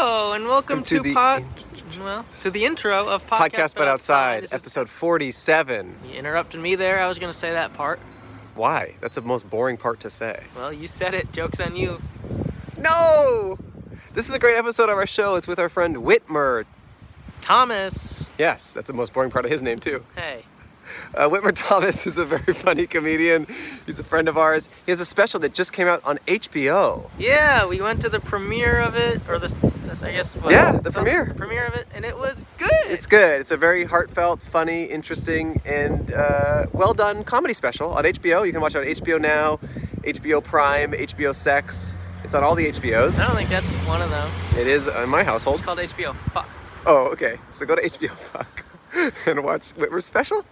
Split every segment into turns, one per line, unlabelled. Welcome to,
the
pot.
in-
well, to the intro of podcast,
podcast, but outside,
This is-
episode 47.
you interrupted me there. I was going to say that part.
Why? That's the most boring part to say.
Well, you said it. Jokes on you.
No! This is a great episode of our show. It's with our friend Whitmer.
Thomas.
Yes, that's the most boring part of his name, too.
Hey.
Uh, Whitmer Thomas is a very funny comedian. He's a friend of ours. He has a special that just came out on HBO.
Yeah, we went to the premiere of it, or this, this I guess. What,
Yeah, the
so-
premiere.
The premiere of it, and it was good.
It's good. It's a very heartfelt, funny, interesting, and uh, well done comedy special on HBO. You can watch it on HBO Now, HBO Prime, HBO Sex. It's on all the HBOs.
I don't think that's one of them.
It is uh, in my household.
Oh. It's called HBO. Fuck.
Oh, okay. So go to HBO Fuck and watch Whitmer Special.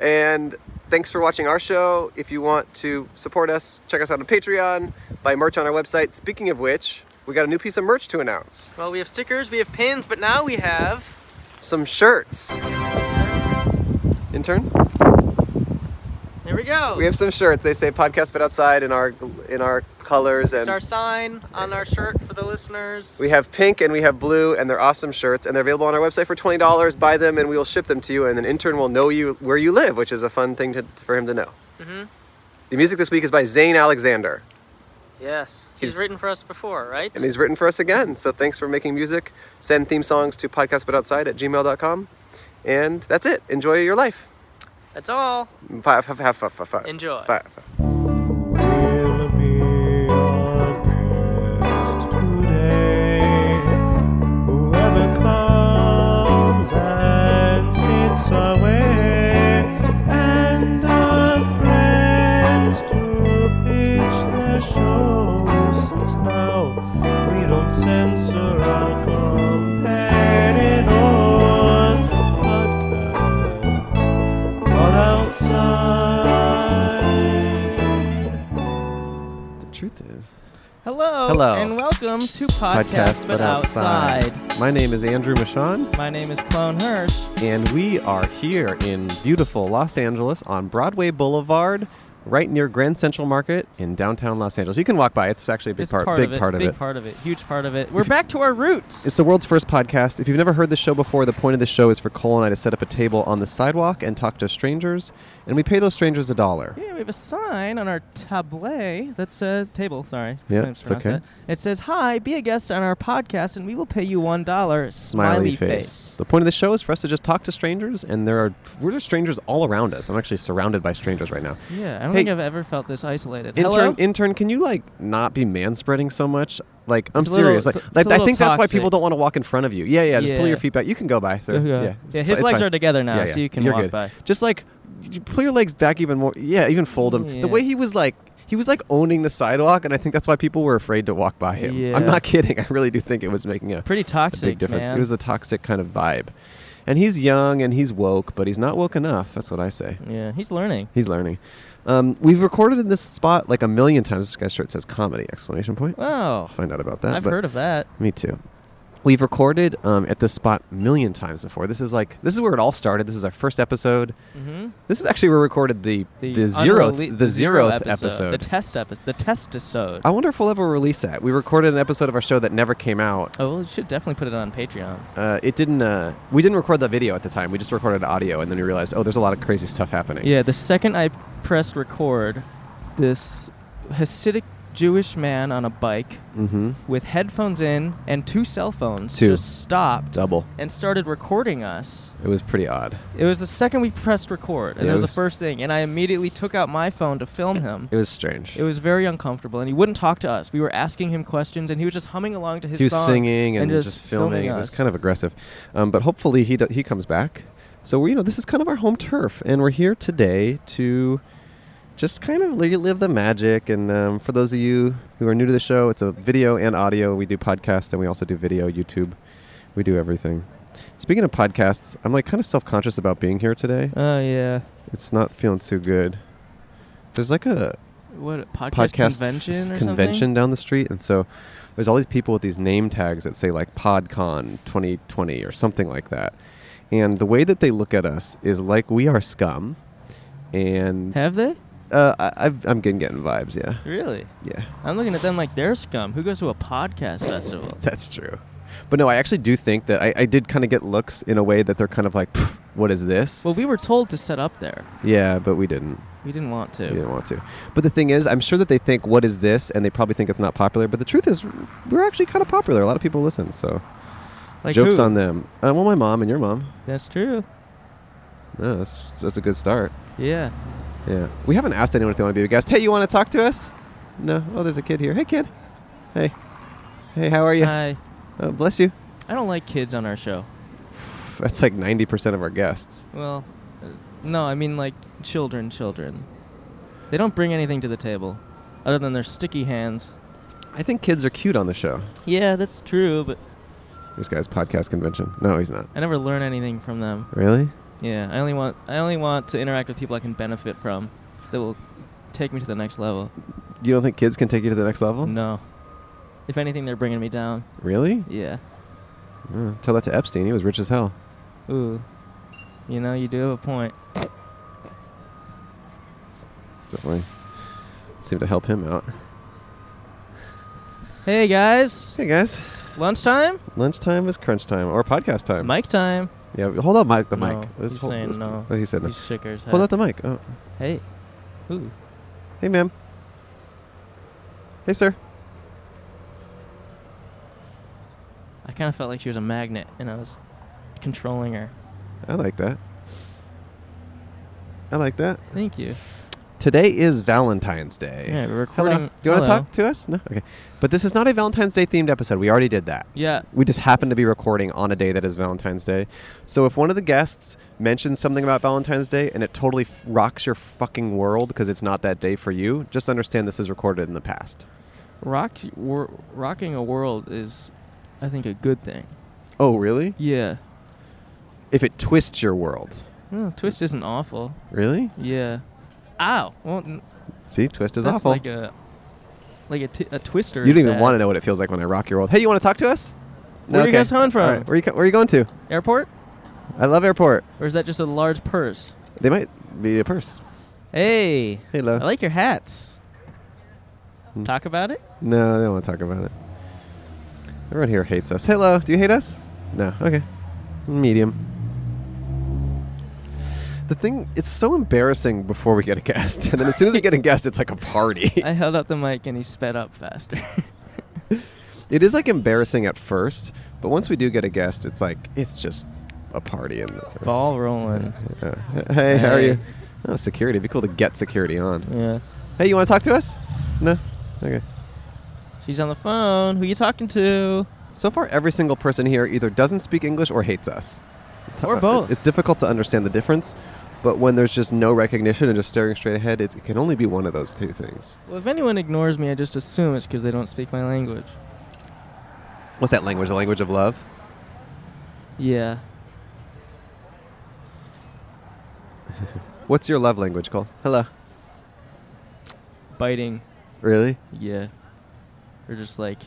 And thanks for watching our show. If you want to support us, check us out on Patreon, buy merch on our website. Speaking of which, we got a new piece of merch to announce.
Well, we have stickers, we have pins, but now we have.
Some shirts. Intern,
There we go.
we have some shirts. They say podcast but outside in our in our colors and
it's our sign on our shirt for the listeners.
we have pink and we have blue and they're awesome shirts and they're available on our website for $20. Buy them and we will ship them to you and an intern will know you where you live, which is a fun thing to, for him to know.
Mhm.
The music this week is by Zane Alexander,
yes. He's
He's-
written for us before, right?
and he's written for us again. So thanks for making music. Send theme songs to podcastbutoutside at gmail.com. And that's it. Enjoy your life.
That's all.
Fi- fi- fi- fi- fi- fi-
Enjoy.
fi- fi-
Will be our guest today. Whoever comes and sits away, and our friends to pitch their show. Since now we don't censor our competitors, podcast, but outside.
The truth is,
Hello,
Hello.
and welcome to Podcast, but, outside.
My name is Andrew Michon,
My name is Clone Hirsch.
and we are here in beautiful Los Angeles on Broadway Boulevard, right near Grand Central Market in downtown Los Angeles. You can walk by; it's actually a big
It's
part,
part
big
of it,
part of
big
it.
part of it, huge part of it. We're back to our roots.
It's the world's first podcast. If you've never heard the show before, the point of the show is for Cole and I to set up a table on the sidewalk and talk to strangers, and we pay those strangers a dollar.
yeah, we have a sign on our tablet that says table. Sorry,
Yeah,
I
it's
mispronounced
okay.
That. It says, "Hi, be a guest on our podcast, and we will pay you one dollar." Smiley, face.
The point of the show is for us to just talk to strangers, and there are we're just strangers all around us. I'm actually surrounded by strangers right now.
Yeah, I don't
Hey.
think I've ever felt this isolated.
Intern,
Hello?
intern, can you like not be manspreading so much? Like, I'm
It's a
serious.
little-
like,
it's a
like, I
little
think that's why people
toxic.
don't want to walk in front of you. Yeah, yeah. Just pull
Yeah.
your feet back. You can go by. Sir.
Okay.
Yeah,
Yeah,
it's
his
fi- it's
legs
fine.
are together now,
Yeah,
so
yeah.
you can
You're
walk
good.
by.
Just like you pull your legs back even more. Yeah, even fold them.
Yeah.
The way he was like, he was like owning the sidewalk, and I think that's why people were afraid to walk by him.
Yeah.
I'm not kidding. I really do think it was making a
Pretty
a
toxic,
big difference.
man.
It was a toxic kind of vibe, and he's young and he's woke, but he's not woke enough. That's what I say.
yeah, he's learning.
He's learning. Um, we've recorded in this spot like a million times. This guy's shirt says comedy exclamation point.
Wow,
I'll find out about that.
I've
but-
heard of that.
Me too. We've recorded um, at this spot a million times before. This is like this is where it all started. This is our first episode.
Mm-hmm.
This is actually where we recorded the the, zeroth
unrele-
the
zero
zeroth episode.
the test episode, the test episode.
I wonder if we'll ever release that. We recorded an episode of our show that never came out.
Oh, well, we should definitely put it on Patreon.
Uh, it didn't. Uh, we didn't record the video at the time. We just recorded audio, and then we realized, oh, there's a lot of crazy stuff happening.
Yeah, the second I pressed record, this Hasidic Jewish man on a bike
Mm-hmm.
with headphones in and two cell phones
Two.
just stopped
Double.
and started recording us.
It was pretty odd.
It was the second we pressed record, and
Yeah, it
it was,
was-
the first thing. And I immediately took out my phone to film him.
It was strange.
It was very uncomfortable, and he wouldn't talk to us. We were asking him questions, and he was just humming along to his
he was
song
singing and,
just, filming.
It
us.
was kind of aggressive, um, but hopefully he do- he comes back. So we, you know, this is kind of our home turf, and we're here today to just kind of li- live the magic. And um, for those of you who are new to the show, it's a video and audio. We do podcasts, and we also do video, YouTube. We do everything. Speaking of podcasts, I'm like kind of self conscious about being here today.
Oh yeah.
It's not feeling too good. There's like a
What a podcast,
podcast
convention or
convention
something?
down the street, and so there's all these people with these name tags that say like PodCon 2020 or something like that. And the way that they look at us is like we are scum. And
Have they?
uh, I, I've, I'm getting getting vibes, yeah,
Really?
yeah,
I'm looking at them like they're scum. Who goes to a podcast festival?
that's true. But no, I actually do think that I, I did kind of get looks in a way that they're kind of like, "Pff, what is this?
Well, we were told to set up there.
yeah, but we didn't.
We didn't want to.
We didn't want to. But the thing is, I'm sure that they think, what is this? And they probably think it's not popular. But the truth is, we're actually kind of popular. A lot of people listen. So
Like
jokes
who?
on them. Uh, well, my mom and your mom.
That's true.
Yeah, that's, that's a good start.
Yeah.
Yeah. We haven't asked anyone if they want to be a guest. Hey, you want to talk to us? No. Oh, there's a kid here. Hey, kid. Hey. Hey, how are you?
I
Oh, bless you.
I don't like kids on our show.
That's like 90% of our guests.
Well, uh, no, I mean like children, children. They don't bring anything to the table other than their sticky hands.
I think kids are cute on the show.
Yeah, that's true, but
This guy's podcast convention. No, he's not.
I never learn anything from them.
Really?
Yeah, I only want I only want to interact with people I can benefit from that will take me to the next level.
You don't think kids can take you to the next level?
No. If anything, they're bringing me down.
Really?
Yeah.
Uh, tell that to Epstein. He was rich as hell.
Ooh. You know, you do have a point.
Definitely seemed to help him out.
Hey guys,
Hey, guys.
lunchtime?
Lunchtime is crunch time or podcast time.
Mic time.
Yeah, hold up, Mike. The
No,
mic. Let's
he's
hold-
saying
let's-
no.
Oh, he said no.
He shook his head.
Hold up the mic. Oh.
Hey. Ooh.
Hey, ma'am. Hey, sir.
I kind of felt like she was a magnet and I was controlling her.
I like that. I like that.
Thank you.
Today is Valentine's Day.
Yeah, we're recording.
Hello. Do you want to
hello.
talk to us? No. Okay. But this is not a Valentine's Day themed episode. We already did that.
Yeah.
We just happen to be recording on a day that is Valentine's Day. So if one of the guests mentions something about Valentine's Day and it totally f- rocks your fucking world because it's not that day for you, just understand this is recorded in the past.
Rock, wor- rocking a world is, I think, a good thing.
Oh, really?
Yeah.
If it twists your world.
No, Hmm, twist isn't awful.
Really?
Yeah. Ow. Well, n-
See, twist is
that's
awful.
like a, like a, t- a twister.
you don't even want to know what it feels like when I rock your world. Hey, you want to talk to us?
Where are you guys coming from?
All right. Where, you, co- where you going to?
Airport?
I love airport.
Or is that just a large purse?
They might be a purse.
Hey.
Hello.
I like your hats.
Hmm.
Talk about it?
No, they don't want to talk about it. Everyone here hates us. Hello, do you hate us? No. Okay. Medium. The thing, it's so embarrassing before we get a guest. And then as soon as we get a guest, it's like a party.
I held out the mic and he sped up faster.
It is like embarrassing at first, but once we do get a guest, it's like, it's just a party. And
Ball rolling.
Yeah. Hey, how are
Hey.
you? Oh, security. It'd be cool to get security on.
Yeah.
Hey, you want to talk to us? No? Okay.
She's on the phone. Who you talking to?
So far, every single person here either doesn't speak English or hates us. T-
Or
uh,
both.
It's difficult to understand the difference, but when there's just no recognition and just staring straight ahead, it, it can only be one of those two things.
Well, if anyone ignores me, I just assume it's because they don't speak my language.
What's that language? The language of love?
Yeah.
What's your love language, Cole? Hello.
Biting.
Really?
Yeah. Or just like.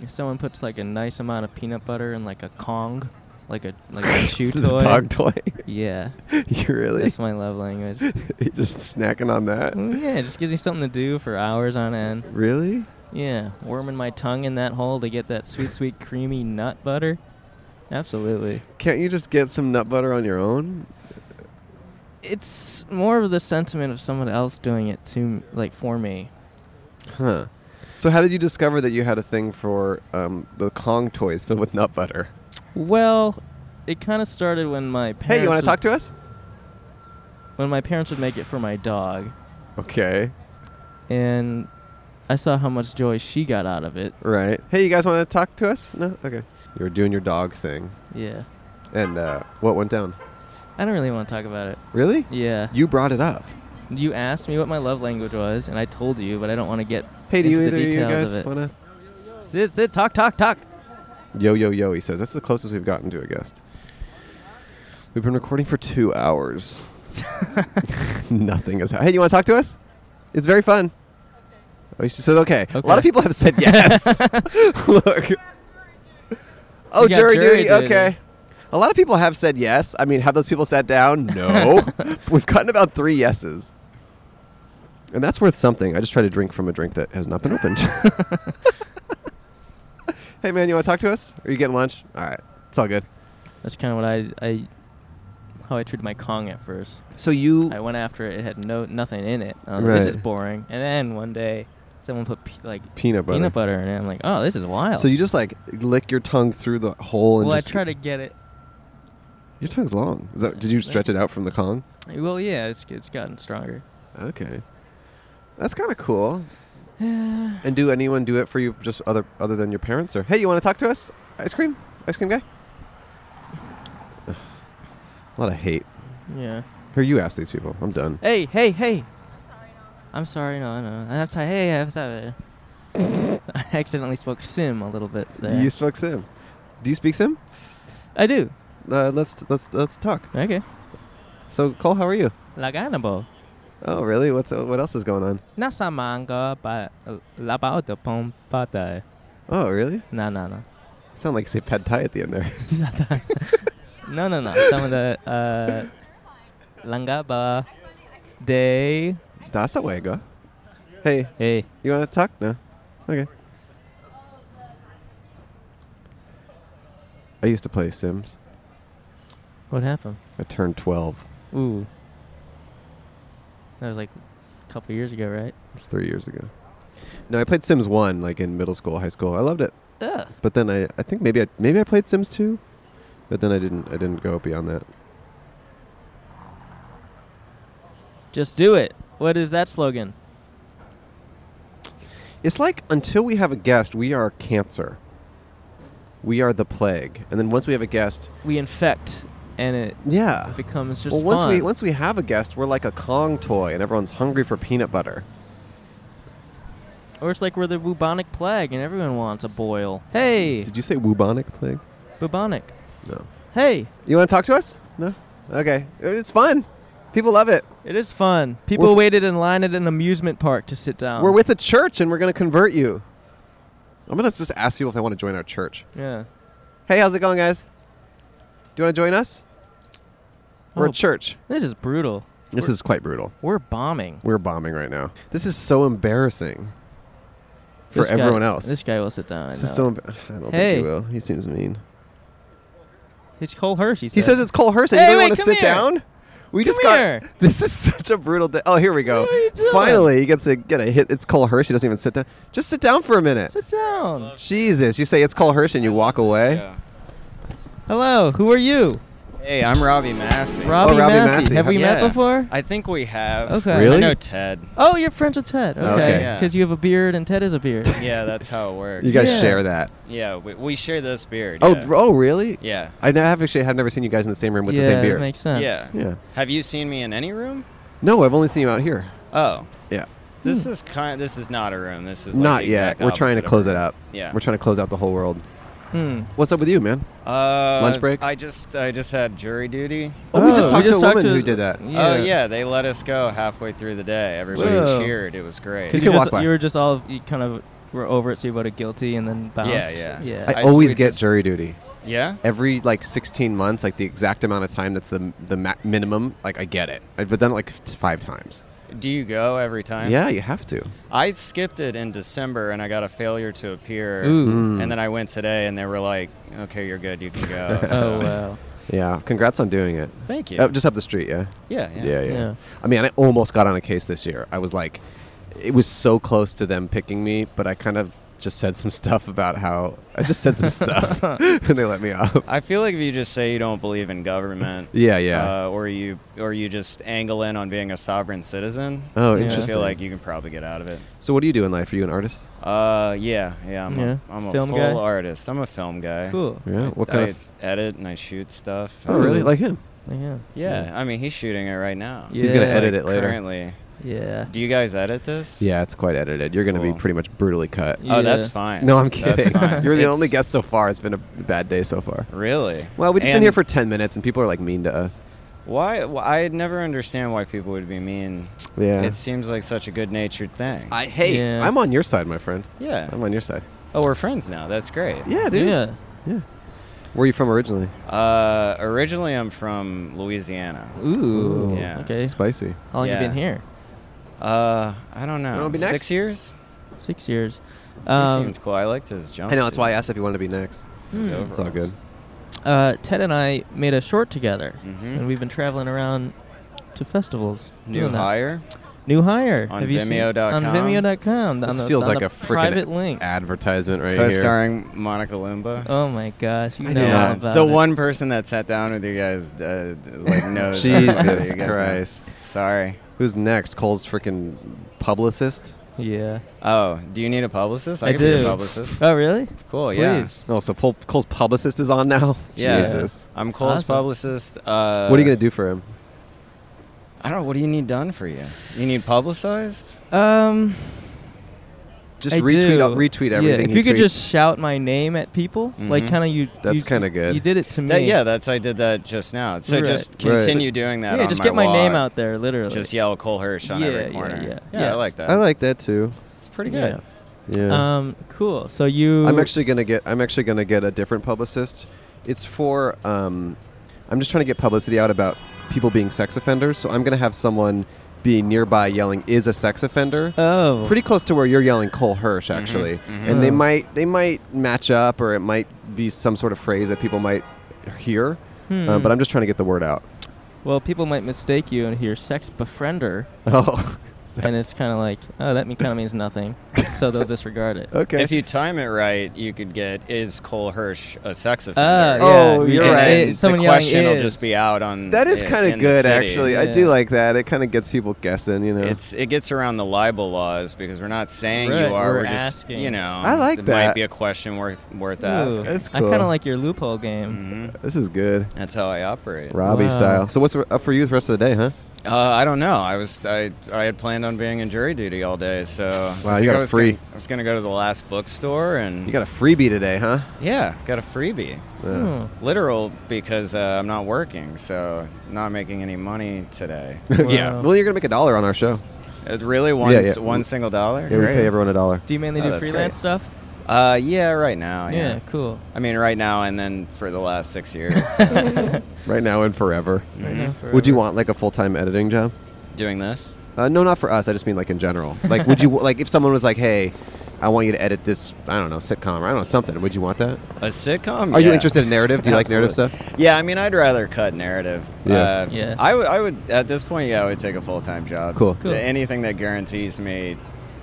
If someone puts like a nice amount of peanut butter in like a Kong, like a like a chew
the
toy.
dog toy?
Yeah.
you really?
That's my love language.
you just snacking on that?
Mm, yeah, it just gives me something to do for hours on end.
Really?
Yeah, worming my tongue in that hole to get that sweet, sweet, creamy nut butter. Absolutely.
Can't you just get some nut butter on your own?
It's more of the sentiment of someone else doing it to m- like for me.
Huh. So how did you discover that you had a thing for um, the Kong toys filled with nut butter?
Well, it kind of started when my parents
Hey, you want
would-
to talk to us?
when my parents would make it for my dog,
Okay.
and I saw how much joy she got out of it.
Right. Hey, you guys want to talk to us? No. Okay. You were doing your dog thing,
Yeah,
and uh, what went down?
I don't really want to talk about it.
Really?
Yeah,
You brought it up.
you asked me what my love language was, and I told you, but I don't want to get
Hey, do
into
you
the
either of you
details
guys
of it.
want to?
Sit, sit, talk, talk, talk.
Yo, yo, yo. He says that's the closest we've gotten to a guest. We've been recording for two hours. Nothing has. hap- Hey, you want to talk to us? It's very fun. Oh, she said okay. A lot
Okay.
of people have said yes. Look. Oh,
You got
jury,
jury
duty.
duty.
Okay. A lot of people have said yes. I mean, have those people sat down? No. We've gotten about three yeses. And that's worth something. I just try to drink from a drink that has not been opened. hey man, you want to talk to us? Are you getting lunch? All right, it's all good.
That's kind of what I, I, how I treated my Kong at first.
So you,
I went after it. It had no nothing in it. I was like, This
Right.
is boring. And then one day, someone put pe- like
Peanut butter.
peanut butter in it. I'm like, oh, this is wild.
so you just like lick your tongue through the hole and
well, I
just
try to get it.
your tongue's long. Is that? Did you stretch it out from the Kong?
Well, yeah, it's it's gotten stronger.
Okay, that's kind of cool. And do anyone do it for you? Just other other than your parents, or hey, you want to talk to us? Ice cream, ice cream guy. Ugh. A lot of hate.
Yeah.
Here, you ask these people. I'm done.
Hey, hey, hey. I'm sorry, no, no. That's how, hey, that's how. I accidentally spoke sim a little bit there.
You spoke Sim. Do you speak Sim?
I do.
Uh, let's let's let's talk.
Okay.
So Cole, how are you?
Like animal.
Oh, really? What's uh, what else is going on?
Nasa manga ba labao de pom pata.
Oh, really?
No, no, no.
Sound like you say pad thai at the end there.
No, no, no. Some of the uh, langa ba de
That's a way go. Hey,
hey.
you want to talk? No. Okay. I used to play Sims.
What happened?
I turned 12.
Ooh. That was like a couple years ago, right?
It's three years ago. No, I played Sims 1 like in middle school, high school. I loved it.
Yeah.
But then I, I think maybe I maybe I played Sims 2, but then I didn't I didn't go beyond that.
Just do it. What is that slogan?
It's like until we have a guest, we are cancer. We are the plague. And then once we have a guest,
We infect, and it
yeah.
becomes just
Well, once
fun.
we once we have a guest, we're like a Kong toy, and everyone's hungry for peanut butter.
or it's like we're the bubonic plague, and everyone wants a boil. Hey,
Did you say bubonic plague?
bubonic.
No.
Hey,
You want to talk to us? No. Okay. It's fun. People love it.
it is fun. People
We're f-
waited in line at an amusement park to sit down.
we're with a church, and we're gonna convert you. I'm gonna just ask people if they want to join our church.
Yeah.
Hey, how's it going, guys? Do you want to join us? We're
Oh.
a church.
This is brutal.
This is quite brutal.
We're bombing.
We're bombing right now. This is so embarrassing for
This guy-
everyone else.
This guy will sit down. I
This is so.
know.
Embar- I don't
Hey.
think he will. He seems mean.
it's Cole Hirsch.
He says it's Cole Hurst. and
Hey,
you don't
wait,
want to
come
sit
here.
down. We just
Come
got.
here.
This is such a brutal day. Oh, here we go.
What are you doing?
Finally, he gets a get a hit. It's Cole Hirsch. He doesn't even sit down. Just sit down for a minute.
sit down.
Jesus, you say it's Cole Hirsch and you walk away.
Hello, who are you?
Hey, I'm Robbie Massey.
Robbie,
Oh, Robbie
Massey.
Massey.
Have we met
Yeah.
before?
I think we have.
Okay.
Really?
I know Ted.
Oh, you're friends with Ted.
Okay.
Okay.
Yeah.
Because you have a beard and Ted is a beard.
Yeah, that's how it works.
You guys
Yeah.
share that.
yeah, we, we share this beard.
Oh,
yeah.
th- oh, really?
yeah.
I ne- have actually have never seen you guys in the same room with
yeah,
the same
That
beard.
makes sense.
Yeah.
yeah.
Have you seen me in any room?
No, I've only seen you out here.
Oh,
Yeah.
this
Hmm.
is kind. This is not a room. This is like
Not
the
yet.
exact
We're trying to
opposite of
close
a
it
room.
up.
Yeah.
We're trying to close out the whole world.
Hmm.
What's up with you, man?
Uh,
Lunch break?
I just I just had jury duty.
Oh, we just
Oh,
talked
we just
to a
talked
woman
to-
who did that.
Yeah.
Oh yeah, they let us go halfway through the day. Everybody
Whoa.
cheered. It was great.
'Cause
You
You,
can walk
just,
by.
you were just all you kind of were over it, so you voted guilty and then bounced.
yeah.
yeah.
I,
I-
always
we
get
just-
jury duty.
yeah.
every like 16 months, like the exact amount of time that's the the ma- minimum. Like I get it. I've done it like f- five times.
Do you go every time?
Yeah, you have to.
I skipped it in December and I got a failure to appear.
Ooh.
Mm.
And then I went today and they were like, okay, you're good, you can go.
oh
So,
wow.
Yeah. Congrats on doing it.
Thank you.
Up just up the street. Yeah.
yeah, yeah.
Yeah, yeah.
Yeah.
I mean, I almost got on a case this year. I was like, it was so close to them picking me, but I kind of just said some stuff about how I just said some stuff, and they let me off.
I feel like if you just say you don't believe in government,
Yeah, yeah.
uh, or you or you just angle in on being a sovereign citizen,
oh,
Yeah.
I
interesting.
feel like you can probably get out of it.
so, what do you do in life? Are you an artist?
Uh, yeah, yeah. I'm
Yeah.
a, I'm a
Film
full
guy?
artist. I'm a film guy.
Cool.
Yeah. What
I
kind of?
edit and I shoot stuff.
Oh, really?
Ooh.
Like him?
Yeah.
Yeah, I mean he's shooting it right now.
He's gonna
It's,
edit
like,
it later.
Currently,
Yeah.
do you guys edit this?
Yeah, it's quite edited. You're going to be
Cool.
pretty much brutally cut.
Oh, that's
Yeah.
fine.
No, I'm
That's
kidding.
fine.
You're the
It's-
only guest so far. It's been a bad day so far.
Really?
Well, we've just been
And
here for 10 minutes and people are like mean to us.
Why? wh- I never understand why people would be mean.
Yeah.
It seems like such a good-natured thing.
I hate.
Yeah.
I'm on your side, my friend.
yeah.
I'm on your side.
oh, we're friends now. That's great.
Yeah, dude.
Yeah.
Yeah. Where are you from originally?
Uh, originally, I'm from Louisiana.
Ooh.
Yeah.
Okay.
Spicy.
How long
Yeah.
you been here?
Uh, I don't know.
Wanna be next?
Six years?
Oh. Six years.
he
Um, Hmm.
seemed cool. I liked his jump.
I know that's why I asked if you wanted to be next. It's all good.
uh, Ted and I made a short together,
Mhm.
and we've been traveling around to festivals.
New
doing that.
hire.
New hire.
On
Have you seen-
Vimeo.com?
On Vimeo.com. on
This
the-
feels
on
like
the
a freaking
private link.
Advertisement right here.
Co-starring Monica Lumba.
Oh my gosh, you
I
know
did
all
not.
about
the
it.
one person that sat down with you guys, uh, d- like knows.
Jesus
You guys know.
Christ.
Sorry.
Who's next? Cole's freaking publicist.
Yeah.
Oh, do you need a publicist? I,
I
could be
do.
a publicist.
Oh really?
cool. Yeah.
Please.
Oh, so Pol- Cole's publicist is on now.
Yeah.
Jesus.
I'm Cole's
Awesome.
publicist. Uh,
what are you gonna do for him?
I don't know. What do you need done for you? You need publicized?
Um.
Just
I
retweet
do.
uh, retweet
Yeah,
everything.
if
he
you could
tweets.
just shout my name at people, like
Mhm.
kind of you.
That's
you-
kinda good.
You did it to me.
That, yeah, that's I did that just now. So
Right.
just
Right.
continue doing that.
Yeah,
on
just get my
walk.
name out there, literally.
Just yell Cole Hirsch on
Yeah,
every
yeah,
corner.
yeah.
I
Yes.
like that.
I like that too.
It's pretty good.
Yeah.
Yeah.
Um. Cool. So you.
I'm actually gonna get. I'm actually gonna get a different publicist. It's for. Um, I'm just trying to get publicity out about people being sex offenders. So I'm gonna have someone be nearby yelling "is a sex offender."
Oh.
Pretty close to where you're yelling Cole Hirsch, actually,
mhm.
and they
Oh.
might they might match up, or it might be some sort of phrase that people might hear. Uh,
Hmm.
but I'm just trying to get the word out.
Well, people might mistake you and hear sex befriender,
Oh,
and it's kind of like, oh, that kind of means nothing, so they'll disregard it.
okay.
If you time it right, you could get is Cole Hirsch a sex
Ah,
offender?
Oh,
yeah, we
you're
can-
And
right.
it-
then
someone
the
yelling
question will just
is.
be out on.
that is
i-
kind
in
of
the
good,
city.
actually. I do
Yeah.
like that. It kind of gets people guessing, you know.
It's it gets around the libel laws because we're not saying
Right,
you are.
we're
We're, just
asking.
you know.
I like
it
that.
Might be a question worth worth
Ooh,
asking.
That's
I kind
cool.
of like your loophole game.
hmm
this is good,
That's how I operate.
Robbie
Wow.
style. So what's up for you the rest of the day, huh?
Uh, I don't know. I was I, I had planned on being in jury duty all day, so
Wow,
I
you
think
got
I
a
was
free.
Gonna, I was gonna go to the last bookstore and
You got a freebie today, huh?
yeah, got a freebie.
Uh,
Hmm.
Literal because uh, I'm not working, so not making any money today.
Wow.
Well, you're gonna make a dollar on our show.
It really one
Yeah, yeah.
one single dollar.
Yeah, we
Great.
pay everyone a dollar.
Do you mainly
Oh,
do
that's
freelance
great.
stuff?
Uh, yeah, right now. Yeah.
Yeah. Cool.
I mean, right now and then for the last six years, so.
Right now and forever.
Right now,
Would you
forever.
want like a full time editing job?
Mm-hmm. doing this.
Uh, no, not for us. I just mean like in general. Like, would you like if someone was like, "Hey, I want you to edit this. I don't know sitcom or I don't know something." Would you want that?
A sitcom?
Are you
Yeah.
interested in narrative? Do you like narrative
Absolutely.
stuff?
Yeah, I mean, I'd rather cut narrative.
Yeah.
Uh,
Yeah.
I would. I would. At this point, yeah, I would take a full time job.
Cool.
Cool.
Anything that guarantees me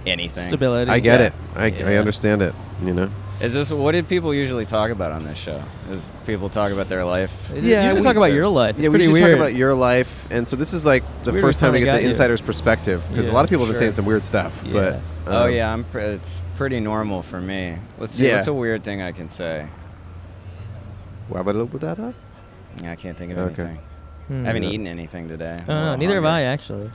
anything.
Stability.
I get
Yeah.
it. I, I
Yeah.
understand it. You know.
Is this what did people usually talk about on this show? Is people talk about their life?
They
Yeah,
usually
we-
talk about your life. It's
yeah, we
pretty
usually
weird.
talk about your life, and so this is like the
weird we
first time we
finally
get the
got you.
insider's perspective because
Yeah,
a lot of people have been
sure.
saying some weird stuff.
Yeah.
But
oh
um,
yeah, I'm. Pre- it's pretty normal for me. Let's see.
Yeah.
What's a weird thing I can say?
why would I look that up?
Yeah, I can't think of
Okay.
anything.
Hmm.
I haven't
Yeah.
eaten anything today.
Oh, no, neither have I actually.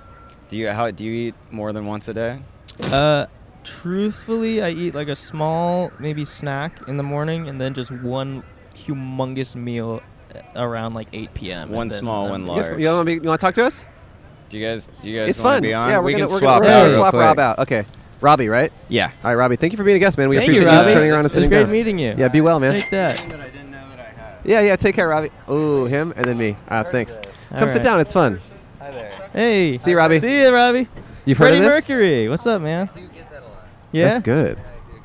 Do you? How do you eat more than once a day?
Mm-hmm.
Uh, truthfully, I eat like a small maybe snack in the morning, and then just one humongous meal uh, around like 8 p.m. and
One
then
small,
I'm
one
done.
You, guys-
Large.
you want to talk to us?
Do you guys? Do you guys?
it's
wanna
fun.
Be on?
Yeah, we're
we
gonna
can
we're
swap
gonna,
out
we're
real
gonna swap
quick.
Rob out. Okay, Robbie, right?
Yeah.
All right, Robbie. Thank you for being a guest, man. We
Thank you,
appreciate
Robbie.
turning around and
It's
sitting
great
down.
meeting you.
Yeah, be well, man.
Take that.
I didn't know that I had.
Yeah, yeah. Take care, Robbie. Ooh, him and then me. Ah, thanks. Come sit
right.
down. It's fun.
Hi there.
Hey.
See you, Robbie.
See you, Robbie.
You've heard
Freddie
of this?
Mercury. What's up, man? Yeah.
That's good.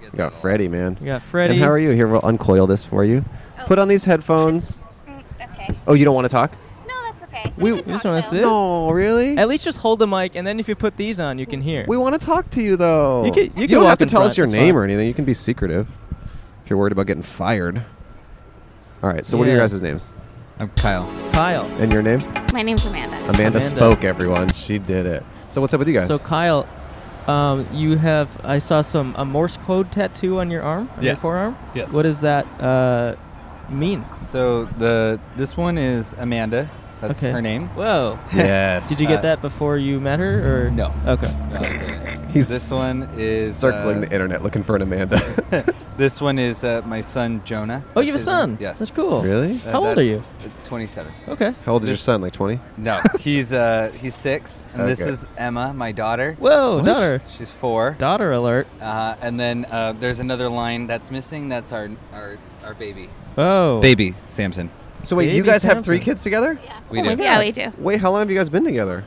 You got Freddie, man.
We got Freddie.
And how are you? Here, we'll uncoil this for you. Put on these headphones.
Oh. Mm, Okay.
Oh, you don't want to talk?
No, that's okay.
We-
can
we just
talk,
wanna
though.
sit.
No, really?
At least just hold the mic, and then if you put these on, you can hear.
We want to talk to Oh. you though.
You can- you can
don't have
walk
to
in
tell
front,
us your
that's
name
fine.
or anything. You can be secretive if you're worried about getting fired. All right. So what are
Yeah.
your guys' names?
I'm Kyle.
Kyle.
And your name?
My name's Amanda.
Amanda,
Amanda.
spoke. Everyone, she did it. So what's up with you guys?
So Kyle, um, you have I saw some a Morse code tattoo on your arm, on your
Yeah.
forearm.
Yes.
What does that uh, mean?
So the this one is Amanda. That's
Okay.
her name.
Whoa.
yes.
Did you get
Uh,
that before you met her, or
No.
Okay.
Uh,
He's
this one is
circling
uh,
the internet looking for an Amanda?
this one is uh, my son Jonah.
Oh, you have
That's
a
his name.
son.
Yes.
That's cool.
really?
Uh,
How old
that's-
are you?
uh, Twenty-seven.
Okay.
How old is your
this-
son? Like 20?
No, he's uh he's six, and this
Okay.
is Emma, my daughter.
Whoa, daughter.
She's four.
Daughter alert.
Uh, and then uh, there's another line that's missing. That's our our our baby.
Oh.
Baby Samson.
So wait, you
Baby
guys have three
Samson.
kids together? Oh
Yeah.
We do.
Yeah, we do.
Wait, how long have you guys been together?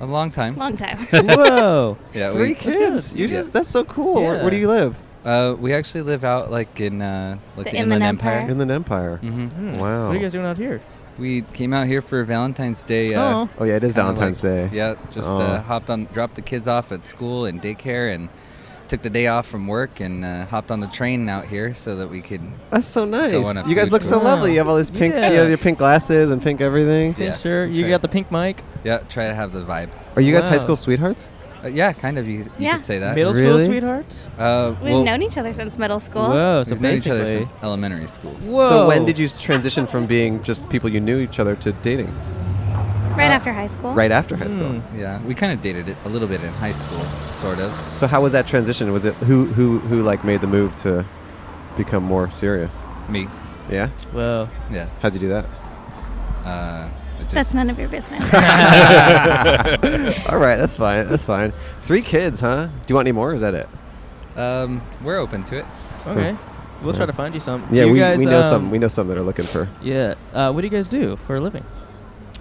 A long time.
Long time.
Whoa.
Yeah,
Three
we,
kids. You're
Yeah.
s- that's so cool. Where, where do
Yeah.
you live?
uh, we actually live out like in uh, like
The
the,
Inland
Inland Empire.
Empire.
Inland Empire.
hmm
Hmm.
Wow.
What are you guys doing out here?
We came out here for Valentine's Day. Uh,
Oh.
Oh yeah, it is
kinda
Valentine's Day.
like- Yeah, just
Oh.
uh, hopped on, dropped the kids off at school and daycare, and took the day off from work and uh, hopped on the train out here so that we could.
That's so nice.
Go on a
You guys
food
look so
tour.
lovely. You have all this pink.
Yeah.
You have your pink glasses and pink everything.
Yeah,
sure.
that's
You
right.
got the pink mic.
Yeah, try to have the vibe.
Are you guys high
Wow.
school sweethearts?
Uh, yeah, kind of. You, you
Yeah.
could say that.
Middle
Really?
school sweethearts.
Uh,
We've
well,
known each other since middle school.
Whoa. So
we've known each
basically.
other since elementary school.
Whoa.
So when did you s- transition from being just people you knew each other to dating?
Right after high school.
uh, Right after high school.
Hmm.
Yeah, we kind of dated it a little bit in high school, sort of.
So how was that transition? Was it who who who like made the move to become more serious?
Me.
Yeah.
Whoa.
Yeah.
How'd you do that?
Uh, it just,
That's none of your business.
All right, that's fine. That's fine. Three kids, huh? Do you want any more? Or is that it?
um, we're open to it.
Okay. We'll try to find you some. Do
Yeah,
you
we,
guys,
we know some.
um,
We know some that are looking for.
Yeah. Uh, what do you guys do for a living?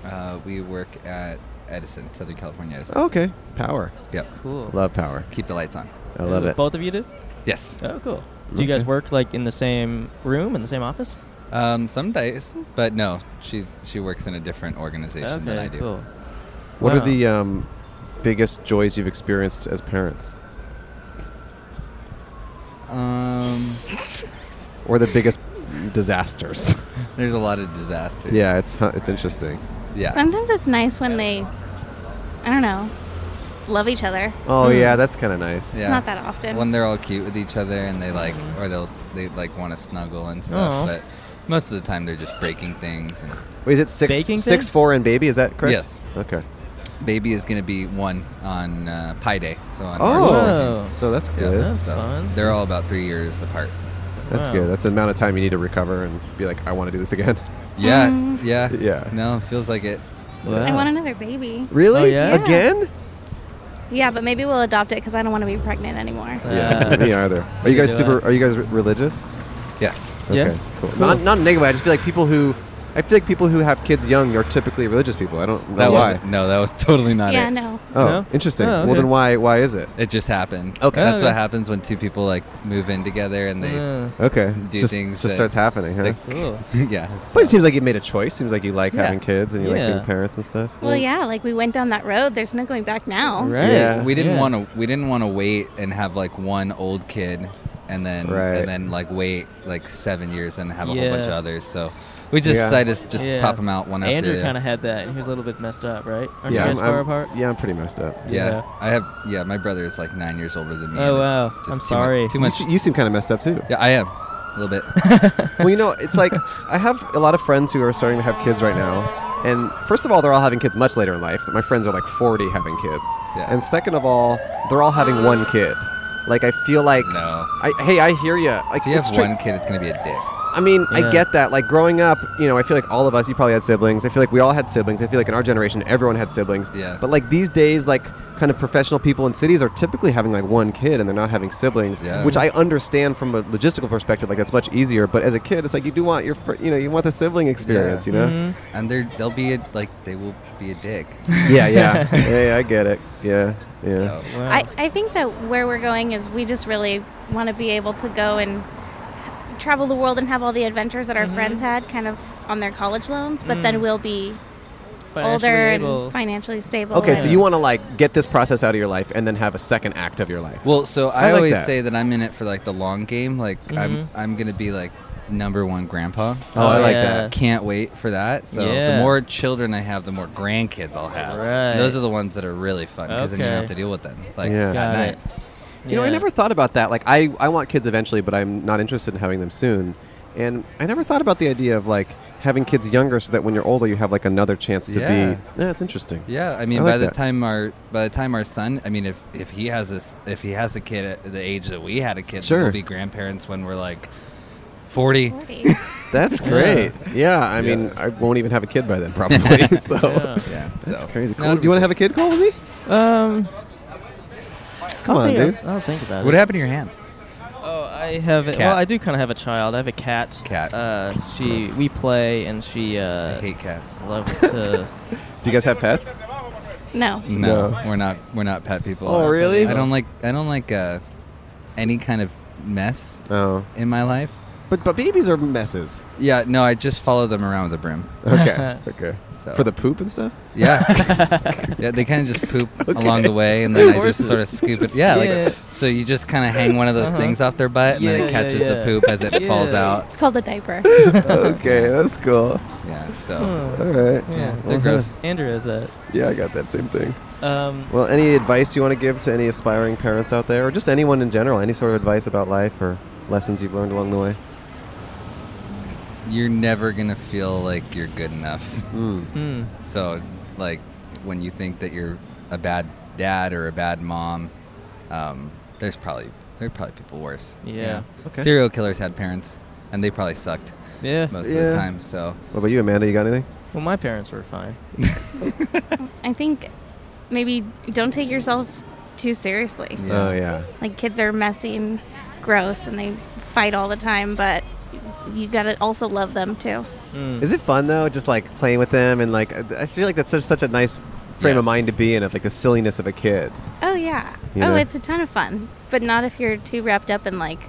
Uh, we work at Edison, Southern California Edison.
Okay, power.
Yep.
Cool.
Love power.
Keep the lights on.
I love it.
Both of you do?
Yes.
Oh, cool. Do you guys
Okay.
work like in the same room in the same office?
Um, some days, but no, she she works in a different organization than I do.
cool.
What
Wow.
are the um, biggest joys you've experienced as parents,
Um,
or the biggest disasters?
there's a lot of disasters.
yeah, it's huh, it's interesting.
Yeah.
Sometimes it's nice when they, I don't know, love each other.
Oh yeah,
Hmm.
that's kind of nice.
yeah.
It's not that often.
Hmm. When they're all cute with each other and they like, or they'll they like want to snuggle and stuff,
Aw.
but most of the time they're just breaking things. And
Wait, is it six
Baking
six
things?
four and baby? Is that correct?
Yes.
Okay.
baby is gonna be one on uh, Pi Day, so on March
Oh,
14th.
so that's
Yeah,
good.
That's
so
fun.
they're all about three years apart.
That's
Wow.
good. That's the amount of time you need to recover and be like, I want to do this again.
Yeah,
Mm.
yeah,
Yeah.
No, feels like it.
I want another baby.
Really?
Oh, yeah? Yeah.
Again?
Yeah, but maybe we'll adopt it because I don't want to be pregnant anymore.
Yeah. Me either. Are you
can
guys
do
super?
that.
Are you guys r- religious?
Yeah,
Yeah.
Okay. Cool. Not not in a negative. way. I just feel like people who, I feel like people who have kids young are typically religious people. I don't know
that
why.
was no, that was totally not
yeah,
it.
no.
Oh,
No?
interesting.
Oh,
Well,
okay. Oh.
then why why is it?
It just happened.
Okay.
that's
Okay.
what happens when two people like move in together and they.
Yeah.
Okay.
Do
just
things
just
that-
starts happening, huh?
they-
Oh. Cool.
yeah.
but it
so-
seems like you made a choice. Seems like you like
Yeah.
having kids and you like being
Yeah.
parents and stuff.
Well, yeah, like we went down that road. There's no going back now.
Right.
Yeah.
we didn't
Yeah.
want to. We didn't want to wait and have like one old kid, and then
Right.
and then like wait like seven years and have a whole bunch of
Yeah.
others. So we just
Yeah.
decided to just
Yeah.
pop them out one after
Andrew
the
kind of had that, and he was a little bit messed up, right? Aren't
yeah,
you guys
I'm,
far
I'm-
apart?
Yeah, I'm pretty messed up.
Yeah.
Yeah.
I have. Yeah, my brother is like nine years older than me. and
Oh,
it's
wow.
just
I'm
too much-
sorry.
Too
You,
much.
s- you seem kind of messed up too.
yeah, I am a little bit.
well, you know, it's like I have a lot of friends who are starting to have kids right now. And first of all, they're all having kids much later in life. My friends are like 40 having kids.
Yeah.
And second of all, they're all having one kid. Like I feel like
No.
I, hey, I hear you. Like
If you
it's
have
tri-
one kid, it's gonna be a dick.
I mean, I
Yeah.
get that. Like growing up, you know, I feel like all of us, you probably had siblings. I feel like we all had siblings. I feel like in our generation, everyone had siblings.
Yeah.
But like these days, like kind of professional people in cities are typically having like one kid and they're not having siblings,
Yeah.
which I understand from a logistical perspective. Like that's much easier. But as a kid, it's like you do want your, fr- you know, you want the sibling experience, you know?
Mhm.
And they're they'll be a, like they will be a dick.
Yeah, yeah. yeah, yeah, I get it. Yeah, yeah.
So,
Wow.
I, I think that where we're going is we just really want to be able to go and travel the world and have all the adventures that our friends had kind of on their college loans, but then we'll be
Financially
older
able.
and financially stable.
Okay,
and-
so you want to like get this process out of your life and then have a second act of your life.
well, so
I
I,
like
always
that.
say that I'm in it for like the long game. Like I'm
Mm-hmm.
I'm gonna be like number one grandpa.
oh, I like
yeah.
that.
Can't wait for that. So
Yeah.
the more children I have, the more grandkids I'll have.
Right.
Those are the ones that are really fun because then you don't
Okay.
have to deal with them. Like
Yeah.
at
Got
night.
it.
You know, I
Yeah.
never thought about that. Like, I, I want kids eventually, but I'm not interested in having them soon. And I never thought about the idea of like having kids younger, so that when you're older, you have like another chance to
Yeah.
be. Yeah, it's interesting.
Yeah, I mean,
I
by
like
the
that.
time our by the time our son, I mean, if if he has this, if he has a kid at the age that we had a kid,
Sure.
we'll be grandparents when we're like forty.
40.
That's great. Yeah, I mean, I won't even have a kid by then probably. so
Yeah.
Yeah,
that's
so.
crazy.
No,
Cool.
it'll
Do you want
be
to have a kid, Cole, with me?
Um,
Come
I'll
on,
think,
dude.
I'll think about
cool. What
it.
happened to your hand?
Oh, I have. A,
Cat.
well, I do kind of have a child. I have a cat.
Cat.
Uh, she. We play, and she
I
uh,
hate cats.
loves to.
Do you guys have pets?
No.
No,
No.
we're not. We're not pet people.
Oh, really?
I don't like. I don't like uh, any kind of mess
Oh,
in my life.
but but babies are messes.
Yeah. No, I just follow them around with a broom.
Okay, okay.
So.
For the poop and stuff.
Yeah. yeah. They kind of just poop along the way, and then I just sort of
Horses.
scoop it. Yeah.
Yeah.
Like, so you just kind of hang one of those
Uh-huh.
things off their butt, and
Yeah,
then
yeah,
it catches
yeah.
the poop as it falls
Yeah.
out.
It's called a diaper.
okay, that's cool.
Yeah. So.
Hmm.
All right.
Yeah, they're
Well,
gross.
Andrew has that.
Yeah, I got that same thing.
Um,
Well, any advice you want to give to any aspiring parents out there, or just anyone in general? Any sort of advice about life or lessons you've learned along the way?
You're never gonna feel like you're good enough.
Mm.
hmm.
So, like, when you think that you're a bad dad or a bad mom, um, there's probably there are probably people worse. you
Yeah.
know?
Okay.
Serial killers had parents, and they probably sucked
Yeah.
most of
Yeah.
the time. So,
What about you, Amanda? You got anything?
Well, my parents were fine.
I think maybe don't take yourself too seriously.
Yeah.
Oh yeah.
Like kids are messy and gross and they fight all the time, but you gotta also love them too.
Mm.
Is it fun though? Just like playing with them and like I I feel like that's such such a nice frame
Yeah.
of mind to be in of like the silliness of a kid
Oh yeah.
Yeah.
Oh, it's a ton of fun, but not if you're too wrapped up in like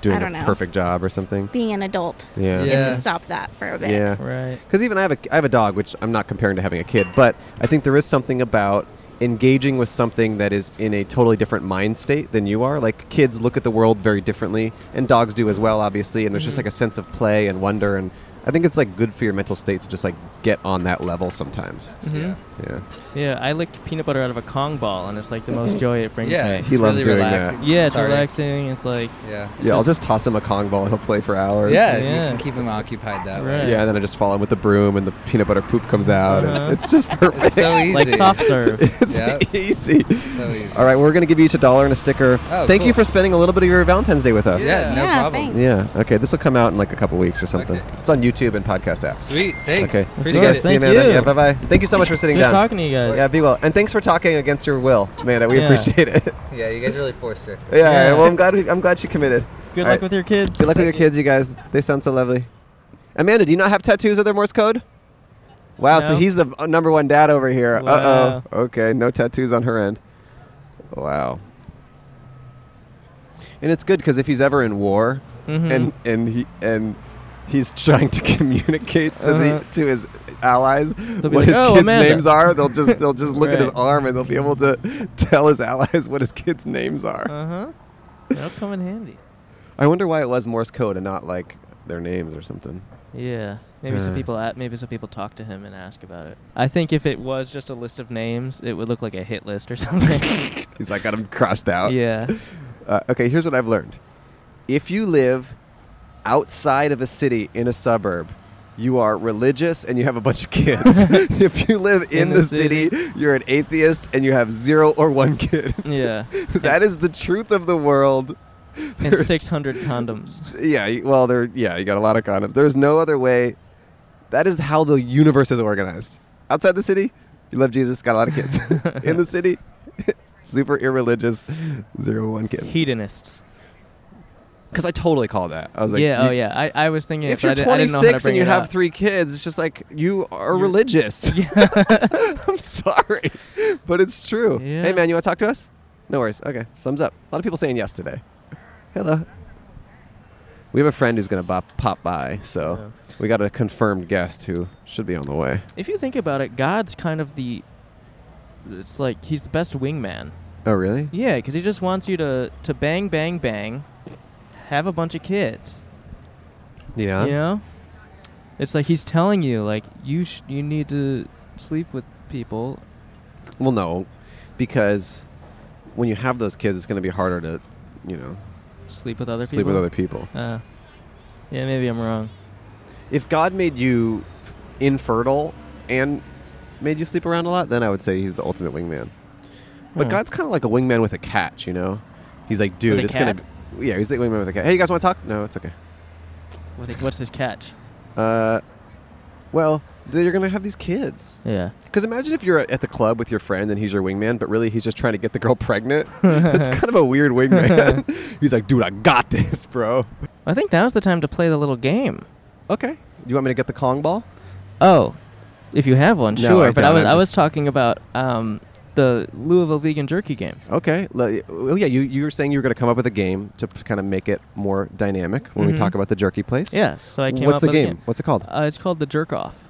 doing
I
a
don't know.
perfect job or something.
being an adult.
Yeah.
You have
Yeah.
to stop that for a bit.
Yeah.
Right.
Because even I have a I have a dog, which I'm not comparing to having a kid, but I think there is something about engaging with something that is in a totally different mind state than you are. Like kids look at the world very differently, and dogs do as well, obviously. And there's
Mm-hmm.
just like a sense of play and wonder, and I think it's like good for your mental state to just like get on that level sometimes.
yeah.
Yeah.
Yeah, I licked peanut butter out of a Kong ball, and it's like the most joy it brings
yeah,
me.
it's
He loves
really
doing
relaxing,
Yeah, it's
cathartic.
relaxing. It's like,
Yeah.
Yeah, I'll just toss him a Kong ball and he'll play for hours.
Yeah,
Yeah.
you can keep them occupied that
Right.
way.
Yeah, and then I just follow him with the broom and the peanut butter poop comes out.
Uh-huh. e-,
And it's just perfect.
So easy.
like soft serve.
it's
Yep.
easy.
So easy.
All right, we're going to give you each a dollar and a sticker.
Oh,
Thank you for
cool.
spending a little bit of your Valentine's Day with us.
Yeah, no
Yeah,
problem.
thanks.
Yeah, Okay, this will come out in like a couple weeks or something.
Okay.
It's on YouTube and podcast apps.
Sweet. Thanks.
Okay.
Appreciate
See you
guys.
guys.
it.
See you,
Thank
Amanda.
you.
Yeah, bye bye. Thank you so much for sitting
Good
down.
talking to you guys.
yeah, be well. And thanks for talking against your will, Amanda. We
Yeah.
appreciate it. yeah,
Yeah, you guys really forced her.
Yeah.
well, I'm glad we, I'm glad she committed.
Good
All
luck
right.
with your kids.
Good luck with your kids, you guys. They sound so lovely. Amanda, do you not have tattoos other Morse code? Wow, so
No.
he's the uh, number one dad over here. Uh
Wow.
oh. Okay, no tattoos on her end. Wow. And it's good because if he's ever in war
Mhm.
and and he and he's trying to communicate to
Uh-huh.
the to his allies
be
what
like,
his
"Oh,
kids'
Amanda."
names are, they'll just they'll just look at his
Right.
arm and they'll be able to tell his allies what his kids' names are.
Uh huh. That'll come in handy.
I wonder why it was Morse code and not like their names or something.
Yeah. Maybe
Uh.
some people at maybe some people talk to him and ask about it. I think if it was just a list of names, it would look like a hit list or something.
He's like got him crossed out.
yeah.
Uh, okay, here's what I've learned. If you live outside of a city in a suburb, you are religious and you have a bunch of kids. if you live in,
In
the,
the
city, you're an atheist and you have zero or one kid.
Yeah.
that is the truth of the world.
And
There's-
600 condoms.
Yeah, y- well, there. Yeah, you got a lot of condoms. There's no other way. That is how the universe is organized. Outside the city, you love Jesus, got a lot of kids. In the city, super irreligious, zero one kids.
Hedonists.
Because I totally call that. I was like,
yeah.
you-
oh yeah. I, I was thinking
If
it,
you're
but I didn't, I didn't know how to
26 and
bring
you
it
have
up.
three kids, it's just like you are religious. I'm sorry, but it's true.
Yeah.
Hey man, you want to talk to us? No worries. Okay, thumbs up. A lot of people saying yes today. Hello. We have a friend who's gonna bop, pop by, so we got a confirmed guest who should be on the way.
If you think about it, God's kind of the. It's like he's the best wingman.
Oh really?
Yeah, because he just wants you to to bang, bang, bang, have a bunch of kids.
Yeah.
You know, it's like he's telling you like you sh- you need to sleep with people.
Well, no, because when you have those kids, it's gonna be harder to, you know,
Sleep with other
sleep
people.
with other people.
Uh, yeah, maybe I'm wrong.
If God made you infertile and made you sleep around a lot, then I would say he's the ultimate wingman. But
Hmm.
God's kind of like a wingman with a catch, you know? He's like, dude,
With a
it's going to.
cat?
Yeah, he's like wingman with a cat. Hey, you guys want to talk? No, it's okay.
With it- What's his catch?
Uh, well, then you're going to have these kids.
Yeah.
Because imagine if you're at the club with your friend and he's your wingman, but really he's just trying to get the girl pregnant. That's kind of a weird wingman. he's like, dude, I got this, bro.
I think now's the time to play the little game.
Okay. Do you want me to get the Kong ball?
Oh, If you have one,
No,
sure.
I
but I
don't.
was
I'm
I was
just-
talking about um, the Louisville vegan jerky game.
Okay. le- Oh, yeah. You, you were saying you were going to come up with a game to kind of make it more dynamic when we
Mhm.
talk about the jerky place.
Yeah. So I came
What's
up
the
with
game?
A game.
What's it called?
Uh, it's called the jerk off.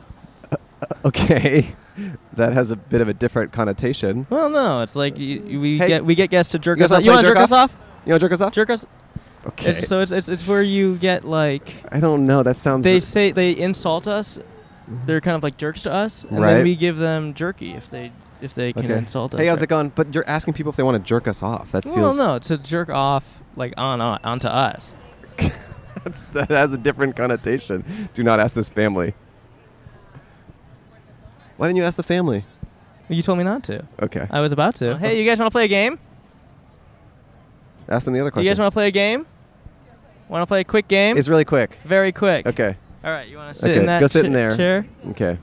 okay. that has a bit of a different connotation.
Well, no, it's like you, you- we
Hey,
get we get guests to jerk
you
us
guys wanna
off. You
play
want to
jerk
jerk us off?
You know, jerk us off?
Jerk us.
okay.
It's, so it's, it's it's where you get like
I don't know. Oh, That sounds.
they say they insult us. They're kind of like jerks to us, and
Right.
then we give them jerky if they if they can
Okay.
insult us.
Hey, how's
right?
it going? But you're asking people if they want to jerk us off. That
Well,
feels.
no, to jerk off like on, on onto us.
That's, that has a different connotation. Do not ask this family. Why didn't you ask the family?
You told me not to. Uh,
Okay.
I was about to. Hey, you guys want to play a game?
ask them the other question.
You guys want to play a game? Want to play a quick game?
it's really quick.
very quick.
Okay.
All right, you want to sit
Okay,
in that
go sit
cha-
in there.
chair?
Okay.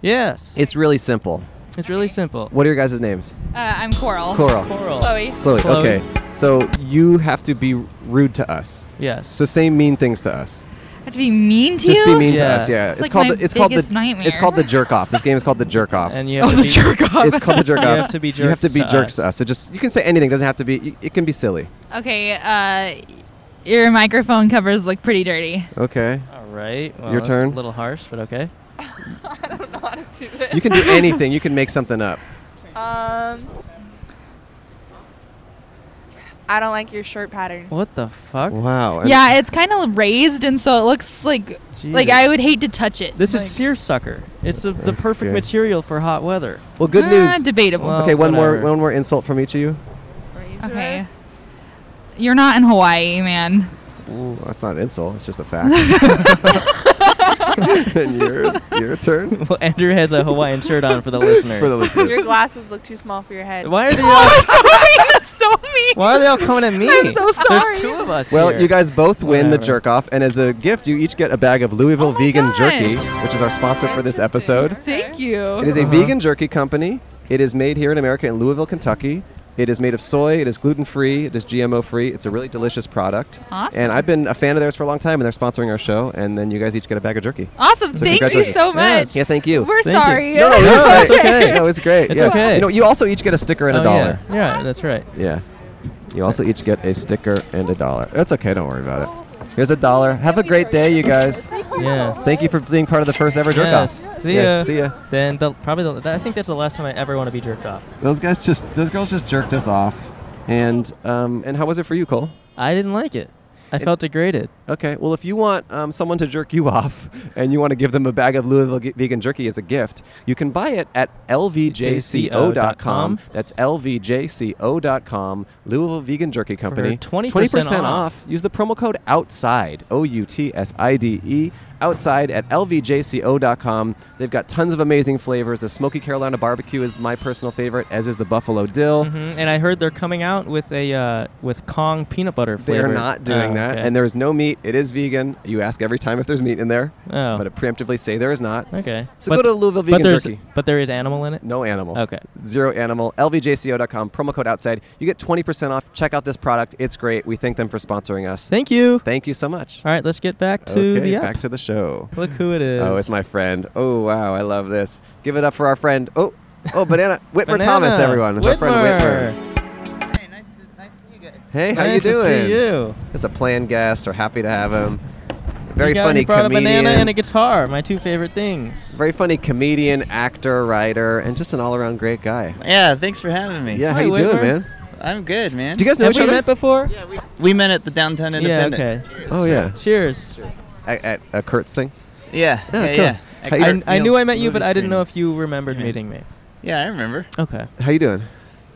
Yes.
It's really simple.
It's really simple.
What are your guys' names?
Uh, I'm Coral.
Coral.
Coral.
Chloe.
Chloe.
Chloe.
Okay. So you have to be rude to us.
Yes.
So say mean things to us.
I have to be mean to
Just
you.
be mean to
Yeah.
us. Yeah.
It's like
called
my
the. It's called the.
biggest nightmare.
It's called the jerk off. This game is called the jerk off.
and you have
Oh,
to
the
be,
jerk off.
it's called the jerk
You
off.
have to be
You have to
jerks
be
to
jerks to
us.
us. So just you can say anything. It doesn't have to be. It can be silly.
okay. Uh, your microphone covers look pretty dirty.
Okay.
All right. Well,
Your
that's
turn.
A little harsh, but okay.
I don't know how to do this.
You can do anything. You can make something up.
Um, I don't like your shirt pattern.
What the fuck?
Wow. I'm-
Yeah, it's kind of raised, and so it looks like like
Jesus.
I would hate to touch it.
This
like,
is seersucker. It's a, the perfect
Okay.
material for hot weather.
Well, good
uh,
news.
Debatable.
Well,
okay, one more.
whatever.
One more insult from each of you.
okay. You're not in Hawaii, man.
Ooh, that's not an insult. It's just a fact. and yours, your turn.
well, Andrew has a Hawaiian shirt on for the listeners.
For the listeners.
Your glasses look too small for your head.
why are they all,
That's so mean.
Why are they all coming at me?
I'm so
There's
sorry.
two of us.
Well,
here.
you guys both win the
Whatever.
jerk off, and as a gift, you each get a bag of Louisville
Oh my
vegan
gosh.
jerky, which is our sponsor for this episode.
Thank you.
It is a
Uh-huh.
vegan jerky company. It is made here in America in Louisville, Kentucky. It is made of soy. It is gluten free. It is GMO free. It's a really delicious product.
Awesome.
And I've been a fan of theirs for a long time, and they're sponsoring our show. And then you guys each get a bag of jerky.
Awesome.
So
thank you
congratulations.
so much.
Yes.
Yeah, thank you.
We're
Thank you.
sorry.
no, no,
It's
it's
okay.
No, it's great.
It's
yeah.
okay.
You know, you also each get a sticker and
Oh,
a
yeah.
dollar.
Yeah. that's right.
Yeah. You also each get a sticker and a dollar. That's okay. Don't worry about it. Here's a dollar. Have a great day, you guys.
Yeah.
Thank you for being part of the first ever jerk off.
Yes. See
Yeah,
ya.
see ya.
Then the, probably the, that- I think that's the last time I ever want to be jerked off.
Those guys just, those girls just jerked us off. And um, and how was it for you, Cole?
I didn't like it. I felt degraded.
Okay. Well, if you want um, someone to jerk you off and you want to give them a bag of Louisville ge- vegan jerky as a gift, you can buy it at lvjco.com. That's lvjco.com, Louisville Vegan Jerky Company.
20% off.
Use the promo code OUTSIDE, O U T S I D E, outside at lvjco.com. They've got tons of amazing flavors. The Smoky Carolina Barbecue is my personal favorite, as is the Buffalo Dill.
hmm And I heard they're coming out with a uh, with Kong peanut butter flavor.
They're not doing
Oh,
that.
okay.
And there is no meat. It is vegan. You ask every time if there's meat in there,
Oh.
but preemptively say there is not.
okay.
So go to Louisville Vegan
but there's,
Jerky.
But there is animal in it.
No animal.
Okay.
Zero animal. LVJCO.com, promo code outside. You get 20% off. Check out this product. It's great. We thank them for sponsoring us.
Thank you.
Thank you so much.
All right, let's get back to
okay,
the app.
back to the show.
Look who it is.
Oh, it's my friend. Oh, wow. I love this. Give it up for our friend. Oh, oh, Banana. Whitmer Thomas,
Banana.
everyone. It's our friend Whitmer. Hey, how
nice
you
to
doing?
see you.
As a planned guest, we're happy to have him. Very
You got-
funny
you brought
comedian.
a banana and a guitar, my two favorite things.
very funny comedian, actor, writer, and just an all-around great guy.
Yeah, thanks for having me.
Yeah, how
Hi,
you doing,
Whitmer.
man?
I'm good, man.
Do you guys know
Have
each
we
other?
met before?
Yeah, we, we met at the downtown
Yeah,
Independent.
okay.
oh yeah,
Cheers.
at, at uh, Kurt's thing.
Yeah,
Yeah,
yeah,
cool.
yeah.
How you-
I, I knew I met you, but I didn't know
If
if you remembered
Yeah.
meeting me.
yeah, I remember.
Okay.
How you doing?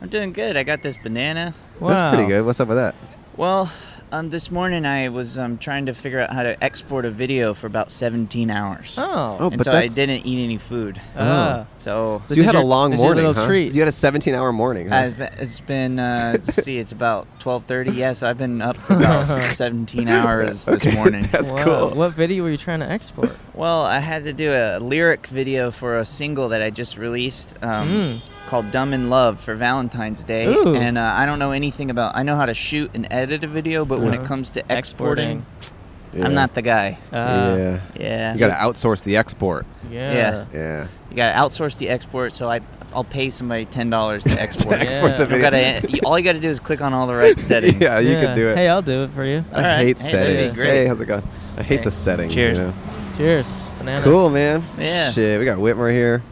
I'm doing good. I got this banana.
Wow.
That's pretty good. What's up with that?
Well, um, this morning I was um, trying to figure out how to export a video for about 17 hours.
Oh.
Oh,
and
but
so
that's-
I didn't eat any food.
Oh.
Ah.
So
So
This
you
is
had a
your-
long
this is your
morning,
little
huh?
treat.
You had a 17-hour morning. Huh?
uh, it's been, it's been uh, let's see, it's about 12:30. Yeah, so I've been up for about 17 hours this
Okay,
morning.
That's
Wow.
cool.
What video were you trying to export?
Well, I had to do a lyric video for a single that I just released um, called "Dumb in Love" for Valentine's Day,
Hmm. Ooh.
and uh, I don't know anything about. I know how to shoot and edit a video, but when
Uh,
it comes to exporting,
Yeah.
I'm not the guy.
yeah.
Yeah.
You got to outsource the export.
Ah. Yeah.
Yeah.
You gotta outsource the export, so I I'll pay somebody ten dollars to export.
export the
You
video.
gotta- you- all you gotta do is click on all the right settings.
Yeah, you could do it.
Hey, I'll do it for you.
I hate settings. Hey, how's it going? I hate the settings.
Cheers.
you know?
Cheers. Banana.
Cool, man.
Yeah.
Shit, we got Whitmer here.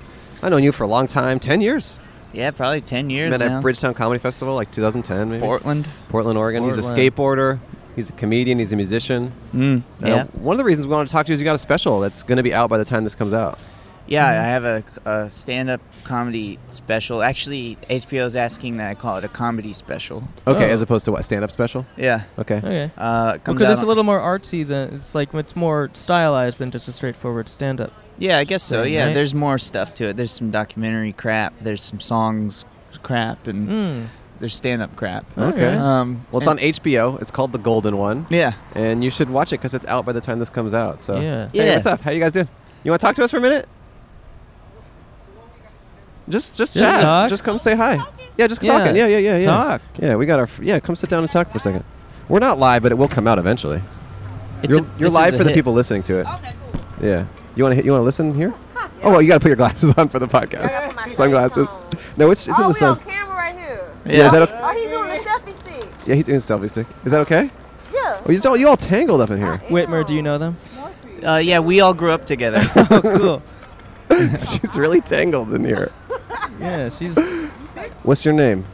I've known you for a long time 10 years.
Yeah, probably 10 years
Met
now.
at Bridgetown Comedy Festival, like 2010, maybe.
Portland.
Portland, Oregon. He's a
Portland.
skateboarder. He's a comedian. He's a musician.
Mm,
Uh,
yeah.
One of the reasons we wanted to talk to you is you got a special that's going to be out by the time this comes out.
Yeah,
Mm-hmm.
I have a, a stand-up comedy special. Actually, HBO is asking that I call it a comedy special.
Okay, as opposed to what? Stand up special?
Oh. Yeah.
Okay.
Okay.
Uh, it comes
because
out
it's a
on-
little more artsy than it's like it's more stylized than just a straightforward stand-up.
Yeah, I guess so.
thing,
Yeah,
right?
there's more stuff to it. There's some documentary crap. There's some songs crap, and
Mm.
there's stand-up crap.
Um,
Um,
well, it's on
and-
HBO. It's called The Golden One.
Yeah.
And you should watch it because it's out by the time this comes out. So
Yeah.
Hey,
Yeah.
what's up? How you guys doing? You want to talk to us for a minute? Just, just,
Just
chat.
talk.
Just come say hi. Yeah, just
Yeah.
talking. Yeah, yeah, yeah, yeah.
Talk.
Yeah, we got our. f- Yeah, come sit down and talk for a second. We're not live, but it will come out eventually.
It's
you're
a-
you're
this
live
is a
for the
hit.
people listening to it. Okay, cool. Yeah. You want to you want to listen here? Oh well, you got to put your glasses on for the podcast. Sunglasses. No, it's it's in the sun.
Oh, camera right here.
Yeah, is that okay?
Oh, he's doing the selfie stick.
Yeah, he's doing a selfie stick. Is that okay?
Yeah.
Oh, you all you all tangled up in here.
Whitmer, do you know them?
Uh, yeah, we all grew up together.
oh,
cool. She's really tangled in here.
Yeah, she's
What's your name?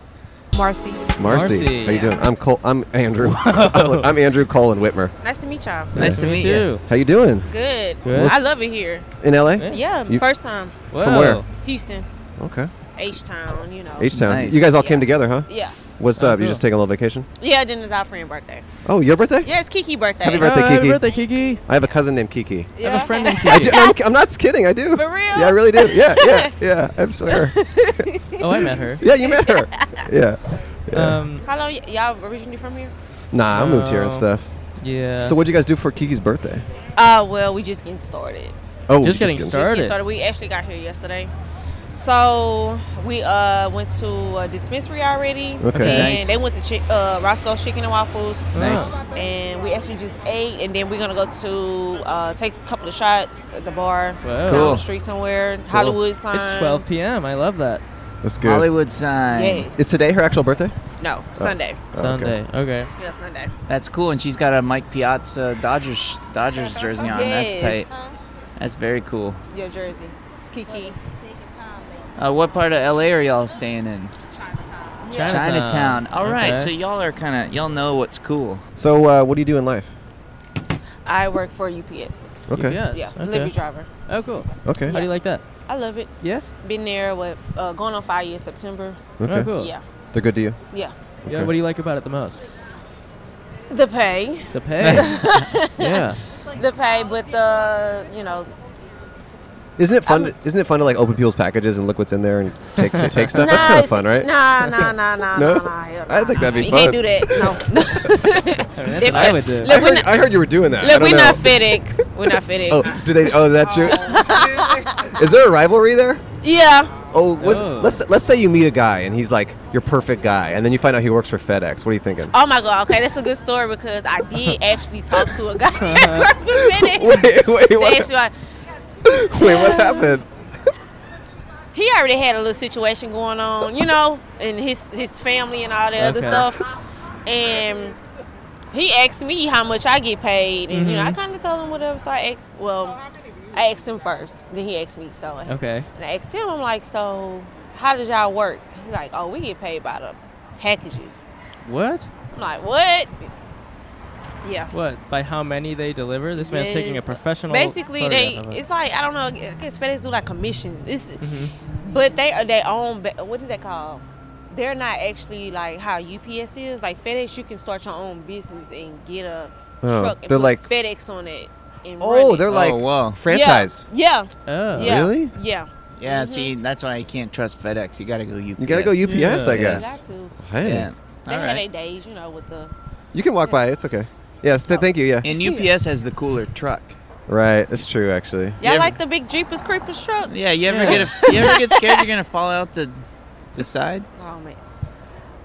Marcy.
Marcy.
Marcy.
How you doing? I'm Cole. I'm Andrew. I'm Andrew Cole and Whitmer.
Nice to meet y'all.
Yeah. How you doing?
Good.
Good.
I love it here.
In LA?
Yeah,
You-
first time.
From where?
Houston.
Okay.
H Town, you know.
H Town. You guys all came together, huh?
Yeah.
What's
Oh,
up? You just taking a little vacation?
Yeah, then it's our friend birthday.
Oh, your birthday?
Yeah, it's Kiki birthday.
Happy birthday,
Oh,
Kiki.
Kiki.
I have a cousin named Kiki.
Yeah. I have a friend named
I do, I'm, I'm not kidding. I do.
For real?
Yeah, I really do. Yeah, yeah, yeah. I swear.
I met her.
Yeah, you met her. Yeah. yeah.
Um,
How long y- y'all originally from here?
nah, I moved here and
so-
stuff.
yeah.
So what'd you guys do for Kiki's birthday?
Uh, well, we just getting started.
Oh, Just getting
Just
started.
getting started. We actually got here yesterday. So we uh went to a dispensary already.
Okay.
And
Nice.
they went to chi- uh, Roscoe's Chicken and Waffles.
Nice.
And we actually just ate, and then we're gonna go to uh, take a couple of shots at the bar
Wow.
down
Cool.
the street somewhere,
Cool.
Hollywood sign.
It's 12 p.m. I love that.
That's good.
Hollywood sign.
Yes.
Is today her actual birthday?
No,
Oh.
Sunday.
Sunday. Okay.
Yeah, Sunday.
That's cool, and she's got a Mike Piazza Dodgers Dodgers jersey on.
Yes. Uh-huh.
That's tight. That's very cool.
Your jersey, Kiki.
Uh, what part of LA are y'all staying in?
Chinatown.
Chinatown. All right,
Okay.
so y'all are kind of y'all know what's cool.
So uh, what do you do in life?
I work for UPS.
Okay.
UPS,
Yeah,
okay.
delivery driver.
Oh, cool.
Okay.
How do you like that?
I love it.
Yeah.
Been there with uh, going on five years September.
Okay. Oh, cool.
Yeah.
They're good to you.
Yeah.
Yeah. What do you like about it the most?
The pay.
The pay. yeah.
The pay, but the you know.
Isn't it fun?
Um,
To, isn't it fun to like open people's packages and look what's in there and take take stuff? That's
Nah,
kind of
it's-
fun, right?
Nah, nah, nah, nah,
No?
nah, nah. hell
I think that'd be
You
fun.
can't do that. No.
that's what I would do. I
we're
heard- I heard you were doing that. I
Look,
don't
we're
know.
not FedEx. We're not FedEx.
Oh, do they? Oh, that's you. Is there a rivalry there?
Yeah.
Oh, what's, let's let's say you meet a guy and he's like your perfect guy, and then you find out he works for FedEx. What are you thinking?
Oh my god. Okay, that's a good story because I did actually talk to a guy for a minute.
Wait, wait,
They
what-
actually like,
Wait, what happened?
he already had a little situation going on, you know, and his his family and all that other
Okay.
stuff. And he asked me how much I get paid, and you know, I
Mhm.
kind of told him whatever. So I asked, well, I asked him first, then he asked me. So I-
Okay.
and I asked him, I'm like, so how does y'all work? He like, oh, we get paid by the packages.
What?
I'm like, what? Yeah.
What? By how many they deliver? This man's taking a
Yes.
professional.
Basically, they
photograph of it.
it's like I don't know. I guess FedEx do like commission. It's,
Mhm.
But they are their own. ba- What is that called? They're not actually like how UPS is. Like FedEx, you can start your own business and get a
Oh,
truck and
they're
put
like-
FedEx on it. And
Oh,
run it.
they're like Oh, wow. franchise.
Yeah. yeah.
Oh.
Yeah.
Really?
Yeah. Mm-hmm.
Yeah. See, that's why you can't trust FedEx. You gotta go UPS.
gotta go UPS, I guess.
Got to.
Hey.
Yeah.
They
All
had
right.
their days, you know, with the
You can walk by. It's okay. Yes. th- thank you. Yeah.
And UPS has the cooler truck.
Right. That's true, actually.
y'all like the big Jeepers Creepers truck.
Yeah. You ever get a, you ever get scared you're gonna fall out the the side?
Oh man.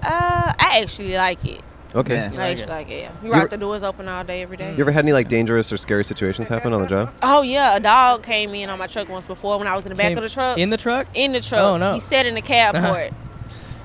Uh, I actually like it.
Okay.
Like, it's like, yeah. You rock the doors open all day, every day.
You ever had any like dangerous or scary situations happen on the job?
Oh yeah, a dog came in on my truck once before when I was in the back
Came
of the truck.
in the truck?
In the truck.
Oh, no.
He sat in the cab
Uh-huh.
for it.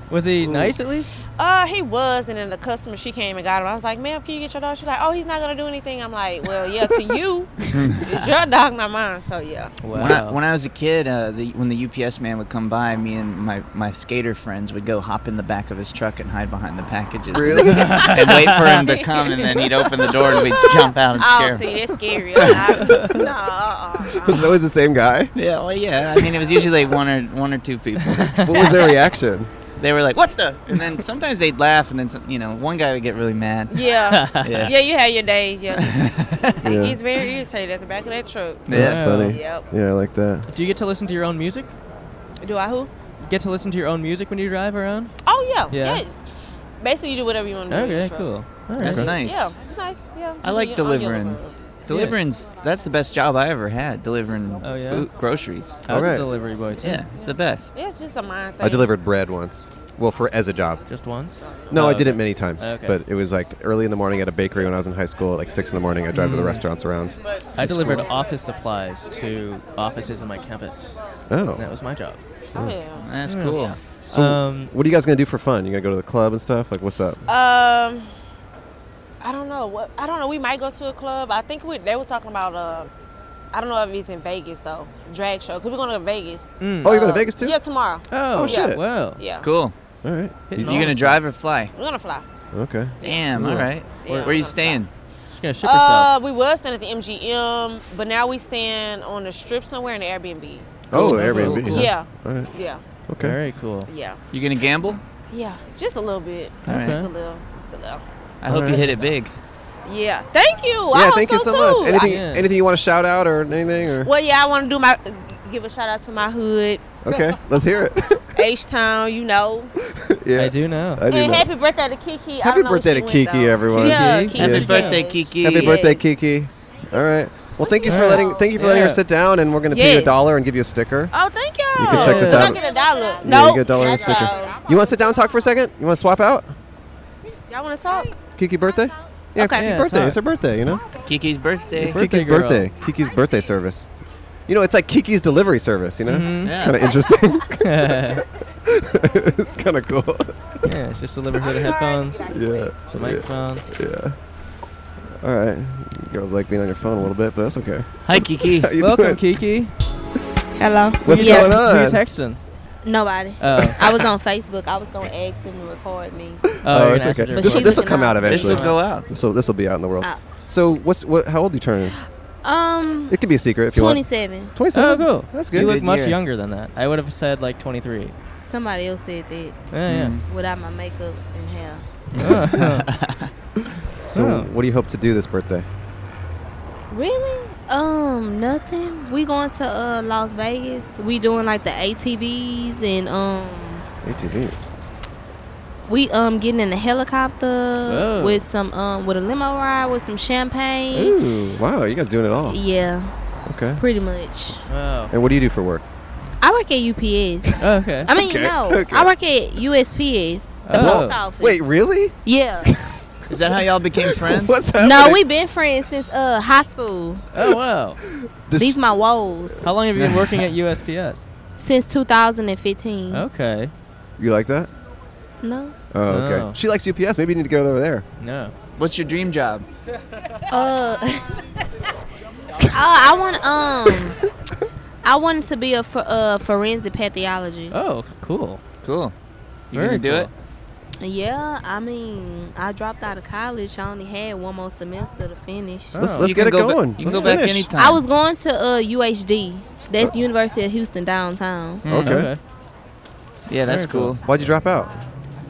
Was he nice at least?
Uh, he was, and then the customer she came and got him. I was like, "Ma'am, can you get your dog?" She's like, "Oh, he's not gonna do anything." I'm like, "Well, yeah, to you, it's your dog, not mine." So yeah.
When, I, when I was a kid, uh, the, when the UPS man would come by, me and my, my skater friends would go hop in the back of his truck and hide behind the packages.
Really?
and wait for him to come, and then he'd open the door and we'd jump out and
oh,
scare him.
see, that's scary. I- no, uh-uh.
Was it always the same guy?
Yeah, well, yeah. I mean, it was usually one or one or two people.
What was their reaction?
They were like, "What the?" And then sometimes they'd laugh, and then some, you know, one guy would get really mad.
Yeah. yeah.
yeah.
you had your days. Yeah.
Yeah.
He's very irritated at the back of that truck.
That's funny.
Yep.
Yeah, I like that.
Do you get to listen to your own music?
Do I who?
Get to listen to your own music when you drive around?
Oh yeah.
Yeah.
Yeah. Basically, you do whatever you want to do. in your
Okay,
truck.
cool. All right.
That's nice.
Yeah, it's nice. Yeah.
I
just
like
on your own
delivering.
road.
Delivering's that's the best job I ever had. Delivering
Oh, yeah?
food, groceries.
I was a Alright. delivery boy, too.
Yeah, it's the best.
Yeah, it's just a mind thing.
I delivered bread once. Well, for as a job.
Just once?
No,
Oh,
I did
okay.
it many times.
Okay.
But it was like early in the morning at a bakery when I was in high school. At like six in the morning, I drive to the
Mm.
restaurants around.
I
It's
delivered
cool.
office supplies to offices on my campus.
Oh.
That was my job. Hmm.
Oh, yeah.
That's
Yeah.
cool.
So,
um,
what are you guys gonna do for fun? You gonna go to the club and stuff? Like, what's up?
Um, I don't know. What I don't know. We might go to a club. I think we, they were talking about. Uh, I don't know if it's in Vegas though. Drag show. Cause we're going to Vegas.
Mm. Oh, you're going to
Uh,
Vegas, too?
Yeah, tomorrow.
Oh,
yeah.
shit. Wow.
Yeah.
Cool.
All right.
You
all
gonna
the
drive or fly?
We're gonna fly.
Okay.
Damn.
Cool.
All right.
Yeah.
Where, where are you staying?
She's gonna ship
Uh, we was staying at the MGM, but now we stand on the strip somewhere in the Airbnb.
Oh,
Cool.
Airbnb.
Cool, cool.
Yeah.
All right.
Yeah.
Okay.
Very cool.
Yeah.
You gonna gamble?
Yeah. Just a little bit.
All right.
Just a little. Just a little.
I hope you hit it big.
Yeah. Thank you. I
yeah.
hope
Thank you so
too.
much. Anything?
I-
Anything you want to shout out or anything? Or
Well, yeah, I want to do my give a shout out to my hood,
okay, let's hear it.
H Town. You know.
yeah. I
do know.
I do
and
know.
happy birthday to Kiki.
Happy
I don't know where
birthday
she
to
went,
Kiki,
though.
everyone.
Yeah, Kiki.
Happy birthday, Kiki.
Happy
Yes.
birthday, Kiki. All right. Well, thank you for
Alright.
letting thank you for letting her
Yeah.
sit down, and we're going to pay you a
Yes.
dollar and give you a sticker.
Oh, thank you.
You can check this
Can
out.
I get a dollar?
Yeah,
No.
you get a dollar and a sticker. You want to sit down and talk for a second? You want to swap out?
Y'all want to talk?
Kiki birthday? Yeah,
Okay.
Kiki
Yeah,
birthday.
talk.
It's her birthday, you know.
Kiki's birthday.
It's Kiki's birthday. Kiki's birthday service. You know, it's like Kiki's delivery service. You know,
Mhm.
it's
Yeah.
kind of interesting. it's kind of cool.
Yeah, just deliver her the headphones.
Yeah.
The microphone.
Yeah. All right. You girls like being on your phone a little bit, but that's okay.
Hi, Kiki.
How you doing?
Welcome, Kiki.
Hello.
What's
Yeah.
going
Who
on?
you texting?
Nobody.
Oh.
I was on Facebook. I was gonna ask them to record me.
Oh, you're
Uh, it's
gonna
okay.
ask her to
This will
record.
this will come out
This
eventually.
will go out.
So this will be out in the world.
Out.
So what's what? How old are you turning?
Oh. Um,
It can be a secret if you want.
27.
27?
Oh, cool.
That's
You
good.
look
Good
much
year.
younger than that. I would have said like 23.
Somebody else said that.
Yeah, yeah.
Hmm.
Mm.
Without my makeup and hair.
Oh.
So
Oh.
what do you hope to do this birthday?
Really? Um, nothing. We going to uh Las Vegas. We doing like the ATVs and um
ATVs.
we um getting in a helicopter
Oh.
with some um with a limo ride with some champagne.
Ooh, wow, you guys doing it all?
Yeah,
Okay.
pretty much.
Wow.
And what do you do for work?
I work at UPS.
Oh. okay.
I mean,
Okay,
no,
okay.
I work at USPS, the
Oh.
post office.
Wait, really?
Yeah.
Is that how y'all became friends?
What's
no, we been friends since uh high school.
Oh wow.
These my woes
How long have you been working at USPS?
since 2015.
Oh.
Okay.
You like that?
No.
Oh, okay.
No.
She likes UPS. Maybe you need to get over there.
No.
What's your dream job?
Uh, uh, I want um, I wanted to be a for, uh, forensic pathology.
Oh, cool.
Cool. You
Very
gonna do
cool.
it?
Yeah, I mean, I dropped out of college. I only had one more semester to finish.
Let's- let's
Oh. You
get
can
it
go ba-
going.
you can
let's
go back
finish.
anytime.
I was going to uh, UHD. That's University of Houston downtown.
Mm,
Okay.
okay. Yeah, that's
Very cool.
cool.
Why'd you drop out?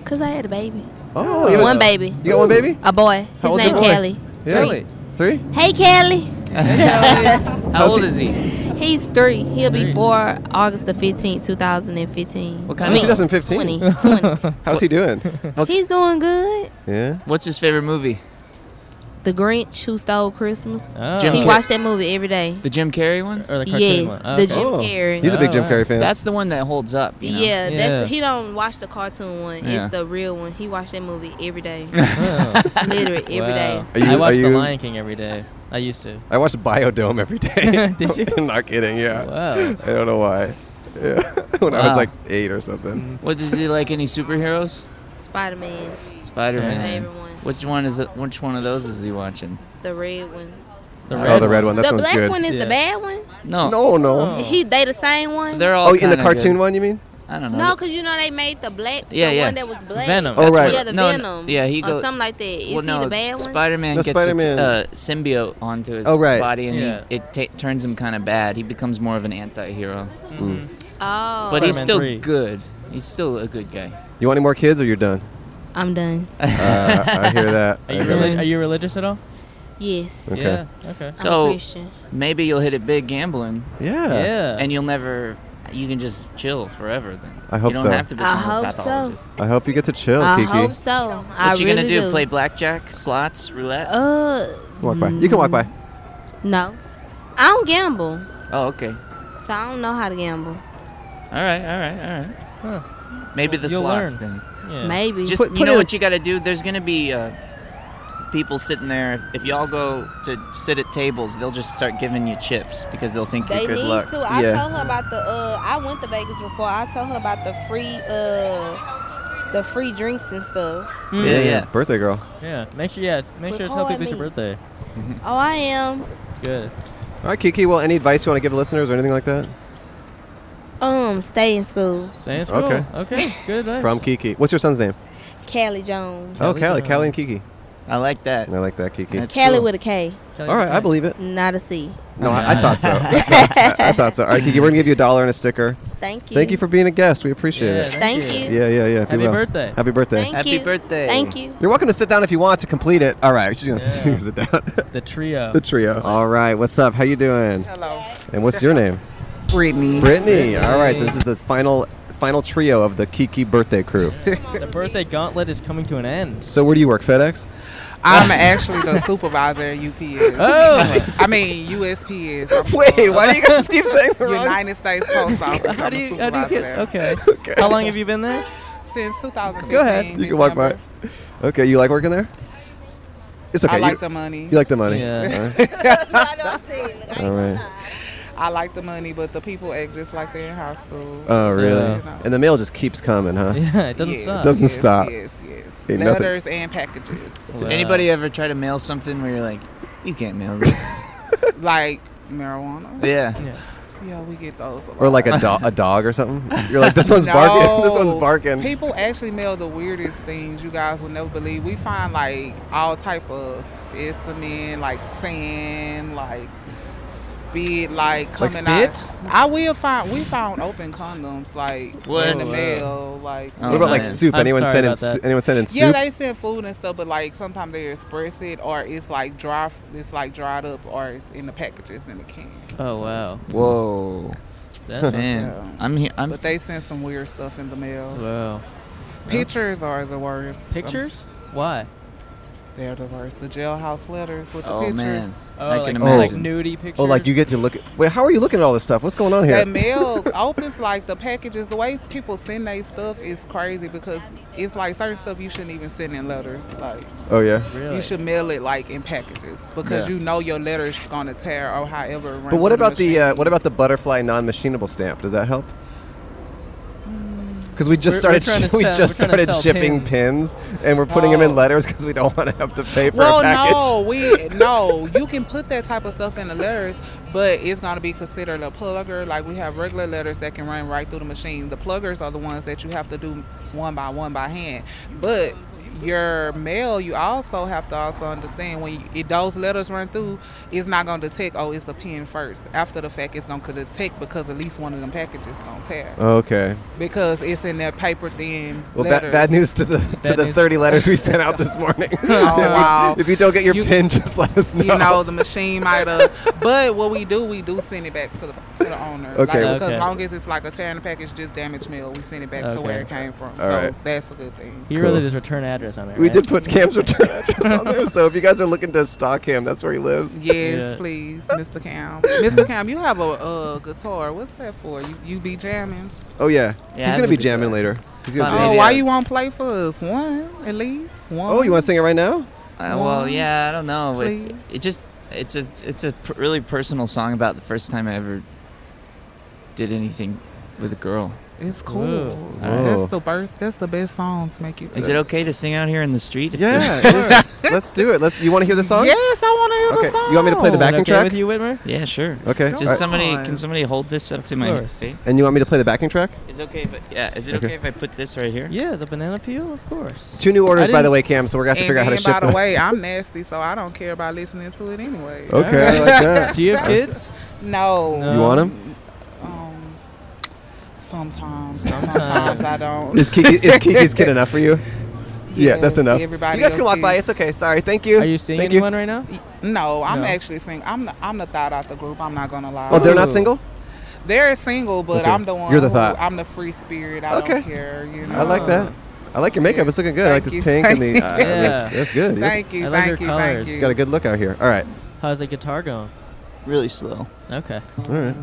Cause I had a baby.
Oh, you have a-
one baby.
You got one baby?
A boy.
How
His
old's
name
your boy?
Kelly.
Yeah.
Kelly.
Three?
Hey, Kelly.
How
How's
old
he-
is he?
He's three. He'll be four August the 15th, 2015.
What
I
kind
mean,
of
2015?
20. 20.
How's he doing?
He's doing good.
yeah.
What's his favorite movie?
The Grinch Who Stole Christmas.
Oh. Jim
He
Car-
watched that movie every day.
The Jim Carrey one, or
the
cartoon Yes, one? the Okay. Jim
Oh.
Carrey. He's a big Jim Carrey fan.
That's the one that holds up. you know?
Yeah, that's the, he don't watch the cartoon one.
Yeah.
It's the real one. He watched that movie every day.
Oh.
Literally every day.
Wow.
Are you-
I watched
are
The
you-
Lion King every day. I used to.
I watched Biodome every day.
Did you?
I'm not kidding. Yeah.
Wow.
I don't know why. Yeah. when I
Wow. Mm.
was like eight or something.
What does he like? Any superheroes?
Spider Man,
Spider
His
Man.
favorite one.
Which one is? it- Which one of those is he watching?
the red one.
The
Oh, red the red one. one. That
the
sounds
black
good.
one is
Yeah.
the bad one. Oh.
No.
No, no.
He they the same one.
They're all
Oh, in the
kinda
cartoon
good.
one, you mean?
I don't know.
No, because you know they made the black,
Yeah,
the
yeah.
one that was black.
Venom.
Oh, right.
Yeah, the
No, n-
Venom.
yeah, he
or
goes-
something like that. Is
well,
he
no,
the bad one?
Spider-Man
No,
gets a t-
Spider-Man.
uh, symbiote onto his
Oh, right.
body, and
Yeah.
he, it ta turns him kind of bad. He becomes more of an anti-hero.
Mm.
Oh,
But he's
Spider-Man
still
three.
good. He's still a good guy.
You want any more kids or you're done?
I'm done.
Uh, I hear that.
Are
I
you,
hear
reli-
that.
are you religious at all?
Yes.
Okay.
Yeah. Okay.
So
Christian.
maybe you'll hit it big gambling.
Yeah.
Yeah.
And you'll never. You can just chill forever then.
I hope
you don't
so.
have to
I
become
hope
a
so.
pathologist.
I hope you get to chill,
I
Kiki.
hope so. I
what you
really
gonna do?
do.
Play blackjack, slots, roulette?
Uh,
Walk by. You can walk by.
no, I don't gamble,
Oh, okay.
so I don't know how to gamble.
All right, all right, all right. Maybe the
You'll
slots
learn.
then.
Yeah. Maybe.
Just
Put-
you
put
know
in-
what you got to do. There's gonna be uh, people sitting there. If y'all go to sit at tables, they'll just start giving you chips because they'll think
They
you're good
need
luck.
to. I told her about the. Uh, I went to Vegas before. I told her about the free, uh, the free drinks and stuff.
Yeah, yeah.
Birthday girl.
Yeah. Make sure. Yeah. Make
Quit
sure to tell people
calling
it's your
me.
birthday.
Oh, I am.
Good.
All right, Kiki. Well, any advice you want to give listeners or anything like that?
Um, stay in school.
Stay in school.
Okay.
Okay. Good. Advice.
From Kiki. What's your son's name?
Callie Jones.
oh, Callie. Callie and Kiki.
I like that.
I like that, Kiki.
Callie with a K.
All right, I believe it.
Not a C.
No, I, I thought so. I, I thought so. All right, Kiki, we're gonna give you a dollar and a sticker.
Thank you.
Thank you for being a guest. We appreciate
Yeah,
it.
thank Thank you. you.
Yeah, yeah, yeah. be
Happy
well.
birthday.
Happy birthday.
Thank
Happy
you.
birthday.
Thank you.
You're welcome to sit down if you want to complete it. All right, she's gonna sit down.
The trio.
the trio. All right, what's up? How you doing? Hello. And what's your name? Brittany. Brittany. All right, so this is the final final trio of the Kiki birthday crew.
the birthday gauntlet is coming to an end.
so where do you work? FedEx.
I'm actually the supervisor at UPS.
Oh.
I mean USPS. I'm
Wait, why do you guys keep saying the wrong-
United States Post Office?
How do you? How do you
supervisor
get?
there.
Okay. How long have you been there?
Since 2015.
Go ahead.
You can walk by. Okay, you like working there? It's
I
okay.
like
you,
the money.
You like the money.
Yeah.
All right.
I don't see it.
All right.
I like the money, but the people act just like they're in high school.
Oh, really?
You know.
And the mail just keeps coming, huh?
Yeah, it doesn't
Yes,
stop.
Doesn't
yes,
stop.
Yes, yes.
Ain't nothing-
Letters and packages.
Anybody ever try to mail something where you're like, you can't mail this?
like marijuana?
Yeah.
Yeah.
Yeah, we get those. A lot.
Or like a, do- a dog or something. You're like, this one's barking. This one's
No.
barking.
People actually mail the weirdest things you guys would never believe. We find like all type of specimen, like sand, like spit, like
Like
coming
spit?
out. I will find. We found open condoms like
What?
in the
Oh, wow.
mail, like.
what about like
Oh, man.
soup?
I'm
anyone
sorry
sending
about
soup?
that.
Anyone sending soup?
Yeah, they send food and stuff, but like sometimes they express it, or it's like dry, it's like dried up, or it's in the packages in the can.
Oh wow.
Whoa.
That's
man. I'm here. I'm.
but they send some weird stuff in the mail.
Wow.
Pictures are the worst. I'm
Pictures? Why?
They're the worst. The jailhouse letters with the
Oh,
pictures.
man.
Oh,
I
like,
can
like
imagine.
nudie
Oh,
pictures.
like you get to look at. Wait, how are you looking at all this stuff? What's
oh,
going on here?
That mail opens like the packages. The way people send their stuff is crazy because it's like certain stuff you shouldn't even send in letters. Like
Oh, yeah.
you should mail it like in packages because
Yeah.
you know your letter's gonna tear or however. it runs
But what
through
about
machine.
the uh, what about the butterfly non-machinable stamp? Does that help? Because Mm. we just
We're- we're
started
trying to
sh- we
sell-
just
we're trying to
started
sell Oh.
shipping pins. and we're putting them in letters because we don't want to have to pay for
Well,
a package.
no, we no. You can put that type of stuff in the letters, but it's gonna be considered a plugger. Like we have regular letters that can run right through the machine. The pluggers are the ones that you have to do one by one by hand. But your mail, you also have to also understand when you, it, those letters run through, it's not gonna detect. Oh, it's a pen first. After the fact, it's gonna detect because at least one of them packages gonna tear.
Okay.
Because it's in that paper thin.
Well, bad,
letters.
bad news to the to
Bad
the
news.
30 letters we sent out this morning.
Oh, wow.
If you don't get your pin, just let us know.
you know the machine might have but what we do we do send it back to the, to the owner
Okay.
like, because
Okay.
as long as it's like a tear in the package just damaged mail we send it back to where it
Okay.
came from
All
so
right.
that's a good thing
He really does return address. address on there.
We
right?
did put Cam's return address on there, so if you guys are looking to stalk him, that's where he lives.
Yes, please, Mr. Cam. Mr. Cam, you have a uh, guitar. What's that for? You, you be jamming.
Oh yeah, he's
Yeah, I
gonna
think
be
it's
jamming later. He's gonna.
Oh, why you won't play for us? One, at least. One.
Oh, you want to sing it right now?
Uh, well, yeah, I don't know.
Please.
It, it just it's a it's a p- really personal song about the first time I ever did anything with a girl.
It's cool.
Whoa. Whoa.
That's the birth. That's the best song to make you.
Is it okay to sing out here in the street? if
Yeah,
there's-
of course. let's do it. Let's. You want to hear the song?
Yes, I want to hear the
Okay.
song.
You want me to
Oh.
play the backing track?
Yeah, sure.
Okay.
Just
Alright.
somebody can somebody hold this up to my
course.
face?
And you want me to play the backing track?
Is it okay, but yeah, is it
Okay.
okay. if I put this right here?
Yeah, the banana peel, of course.
Two new orders,
I
by the
didn't-
way, Cam. So we're gonna have to
And
figure out how to
then,
ship
by the
them.
way, I'm nasty, so I don't care about listening to it anyway.
Okay, I like that. Do you have kids?
No.
You want him?
Um, sometimes. Sometimes I don't.
Is, Kiki, is Kiki's kid enough for you? yeah, that's
Yes,
enough.
everybody
you guys can
else
walk by.
is.
It's okay. Sorry. Thank you.
Are you seeing
Thank
anyone right now?
No, I'm
No.
actually single. I'm the, I'm the thought out the group. I'm not gonna lie.
Oh, they're not single.
They're single, but
Okay.
I'm the one.
You're the
who-
thought.
I'm the free spirit. I don't care. You know.
I like that. I like your makeup. It's looking good. I like this pink
Thank you.
and the.
Thank
Uh,
you.
that's, that's good. dude.
Thank you.
I like
thank
your
you. Thank
colours.
you.
She's got a good look out here. All right.
How's the guitar going?
Really slow.
Okay.
All right.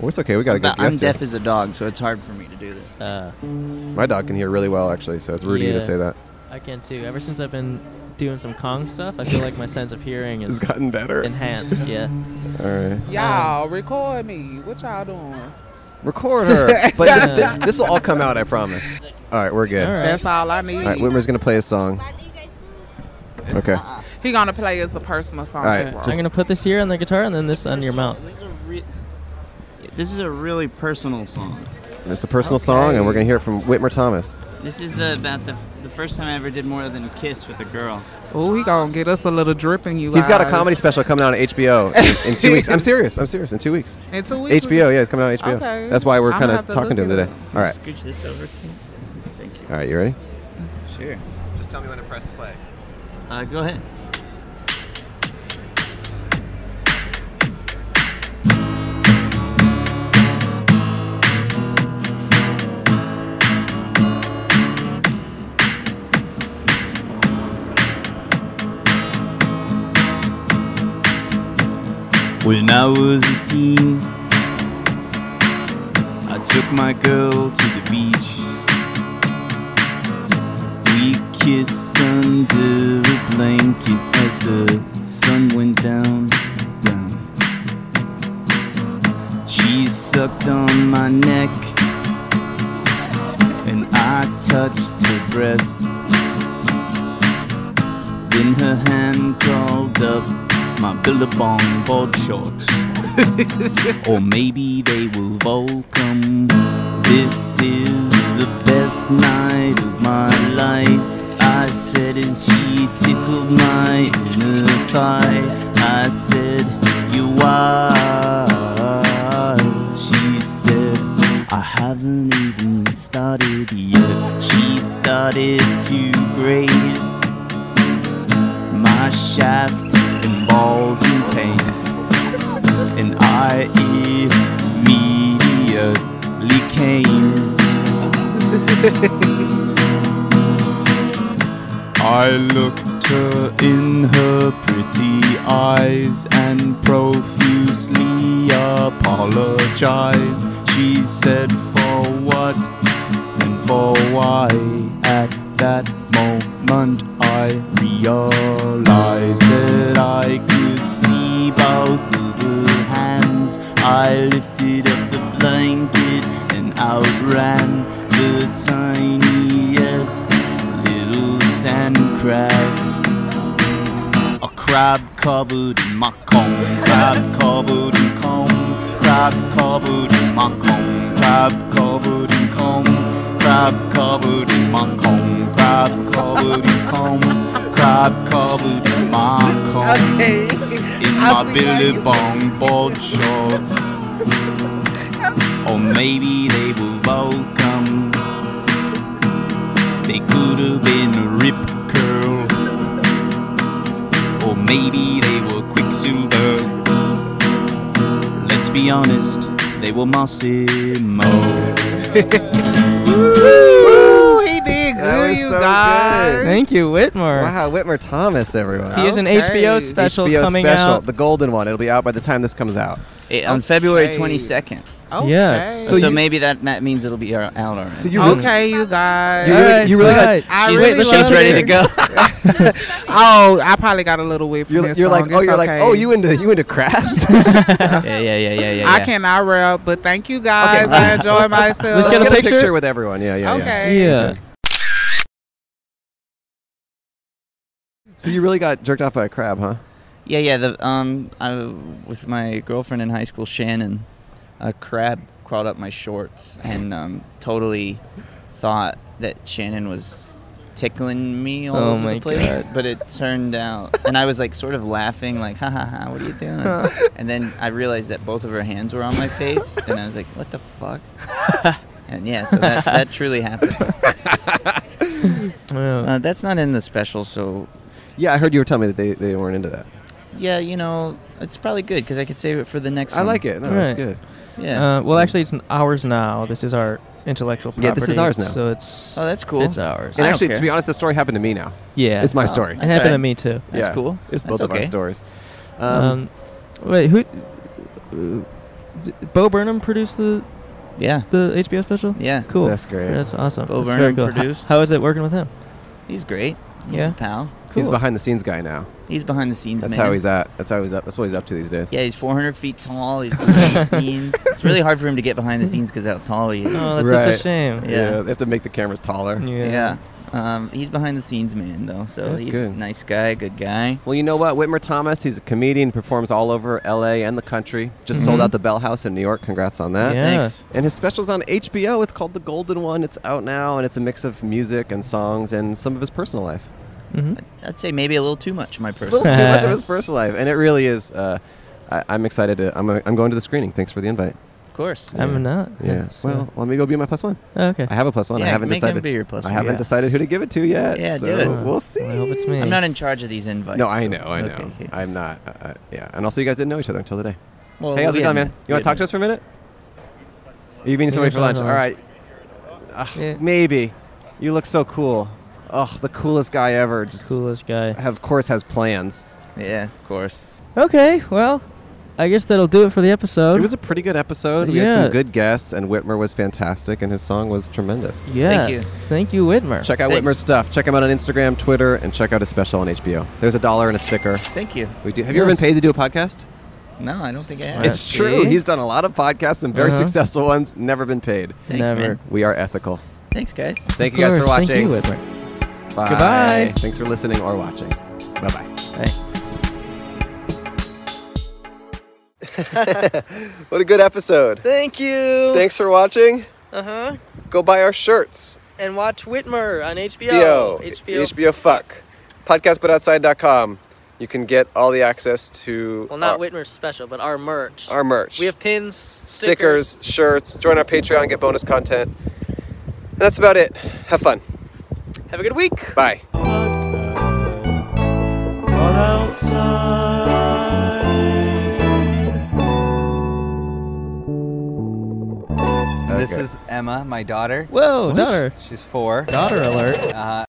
Well, it's okay. We got a good
But I'm
guest. here.
deaf as a dog, so it's hard for me to do this.
Uh,
My dog can hear really well, actually. So it's rude of you
Yeah.
to say that.
I can too. Ever since I've been doing some Kong stuff, I feel like my sense of hearing
It's
is
gotten better.
Enhanced, yeah.
All right.
Y'all record me. What y'all doing?
Um, Record her. but this will all come out, I promise. All right, we're good.
All right. That's all I need.
All right, Whitmer's gonna play a song. Okay.
He gonna play as a personal song.
Alright,
for us.
I'm gonna put this here on the guitar and then this on your mouth.
This is a really personal song.
It's a personal song, and we're gonna hear it from Whitmer Thomas.
This is uh, about the, f- the first time I ever did more than a kiss with a girl.
Oh, he gonna get us a little drip in you.
He's got a
guys.
comedy special coming out on HBO in, in two weeks. I'm serious. I'm serious. In two weeks.
In two weeks?
HBO. Yeah, it's coming out on HBO.
Okay.
That's why we're kind
I'm gonna
of
have to
talking to him
look it
today.
up.
All right.
Scooch this over to me. Thank you.
All right. You ready?
Sure.
Just tell me when to press play.
Uh, go ahead.
When I was a teen, I took my girl to the beach. We kissed under a blanket as the sun went down, down. She sucked on my neck, and I touched her breast. Then her hand crawled up my Billabong board shorts. or maybe they will Volcom. This is the best night of my life. I said as she tickled my inner thigh. I said, You wild. She said, I haven't even started yet. She started to graze my shaft and balls and taint. And I immediately came. I looked her in her pretty eyes and profusely apologized. She said, For what and for why? At that moment, I realized that I could see both of her hands. I lifted up the blanket and outran the tiniest little sand crab. A crab covered in macomb, crab covered in comb, crab covered in macomb, crab covered in comb, crab covered in macomb, crab covered in comb, crab covered in macomb. In my billabong board shorts, or maybe they were welcome. They could have been a rip curl. Or maybe they were Quicksilver. Let's be honest, they were Mossimo.
Woo, he did good. you, guys.
Thank you, Whitmer.
Wow, Whitmer Thomas, everyone.
He has an HBO special
HBO
coming
special,
out.
The golden one. It'll be out by the time this comes out.
Eh, on February 22nd.
Yes.
So,
So you-
maybe that, that means it'll be out out already.
So you
okay, you guys.
You really- you really got-
I
she's-
really
she's
love
ready
it.
to go.
oh, I probably got a little weird from
You're,
this
you're like,
song.
oh,
It's
you're like,
okay.
oh, you into you into crafts?
yeah, yeah, yeah, yeah, yeah.
I cannot rap, but thank you guys. I enjoy myself.
Let's get a picture? with everyone. Yeah, yeah,
Okay.
yeah.
Yeah.
So you really got jerked off by a crab, huh?
Yeah, yeah. The um, I, with my girlfriend in high school, Shannon, a crab crawled up my shorts and um, totally thought that Shannon was tickling me all
Oh
over
my
the place.
God.
But it turned out, and I was like sort of laughing, like ha ha ha, what are you doing? and then I realized that both of her hands were on my face, and I was like, what the fuck? and yeah, so that, that truly happened. Uh, that's not in the special, so
Yeah, I heard you were telling me that they, they weren't into that.
yeah, you know, it's probably good because I could save it for the next
I
one.
like it. No, it's
Right.
good.
Yeah.
Uh, well, actually, it's n- ours now. This is our intellectual property.
Yeah, this is ours now.
So it's.
Oh, that's cool.
It's ours.
And actually, to be honest, the story happened to me now.
Yeah.
it's my
Oh,
story.
It happened to me too.
Yeah, It's both of our stories.
Um, wait, who? d- Bo Burnham produced the.
Yeah.
The HBO special.
Yeah.
Cool.
That's great.
That's awesome.
Bo
That's very
Burnham
cool. H-
produced.
How is it working with him?
He's great. He's
Yeah.
a pal.
He's behind the scenes guy now.
He's behind the scenes
That's
man.
how he's at. That's how he's up. That's what he's up to these days.
Yeah, he's 400 feet tall. He's behind the scenes. It's really hard for him to get behind the scenes because how tall he is.
Oh, that's such a
Right.
shame.
Yeah.
they have to make the cameras taller.
Yeah. Um, he's behind the scenes man though, so
That's
he's a
good.
nice guy, good guy.
Well, you know what? Whitmer Thomas, he's a comedian, performs all over LA and the country. Just sold
Mhm.
out the Bell House in New York. Congrats on that.
Yeah. Thanks.
And his special's on HBO. It's called The Golden One. It's out now, and it's a mix of music and songs and some of his personal life.
I'd say maybe a little too much, my person.
little too much of his personal life, and it really is. Uh, I, I'm excited. To, I'm, I'm going to the screening. Thanks for the invite.
Of course.
I'm not.
Yeah.
so-
Well, let me go be my plus one.
Oh, okay.
I have a plus one. I
Yeah,
haven't
make him
decided.
be your plus
I
one.
haven't
Yeah.
decided who to give it to yet.
Yeah,
so
do it.
We'll see.
I hope it's me.
I'm not in charge of these invites.
No, I
so-
know, I know.
Okay, okay.
I'm not. Uh, uh, yeah, and also you guys didn't know each other until today.
Well,
hey, how's
we
it going, man?
hadn't.
You
We
want to talk
hadn't.
to us for a minute? Are you meeting somebody for lunch? All right. Ugh, Maybe. You look so cool. Ugh, the coolest guy ever. Just
coolest guy.
Of course, has plans.
Yeah, of course.
Okay. Well, I guess that'll do it for the episode.
It was a pretty good episode. We had some
Yeah.
good guests, and Whitmer was fantastic, and his song was tremendous.
Yes. Thank you, Whitmer.
Check out Whitmer's stuff. Check him out on Instagram, Twitter, and check out his special on HBO. There's a dollar and a sticker.
Thank you.
We do. Have you ever been
Yes.
paid to do a podcast?
No, I don't think I have.
It's true. He's done a lot of podcasts, some very
Uh-huh.
successful ones. Never been paid.
Thanks, Never. man.
We are ethical.
Thanks, guys.
Thank
Of
you guys for
course. Thank
watching.
you,
Bye.
Goodbye.
Thanks for listening or watching. Bye bye. What a good episode.
Thank you.
Thanks for watching.
Uh huh.
Go buy our shirts.
And watch Whitmer on HBO.
HBO. HBO fuck. Podcastbutoutside.com. You can get all the access to
Well, not
our,
Whitmer's special, but our merch.
our merch.
We have pins,
stickers, shirts. Join our Patreon, get bonus content. And that's about it. Have fun.
Have a good week.
Bye.
but outside.
This is Emma, my daughter.
Whoa, daughter.
She's four.
Daughter alert.
Uh,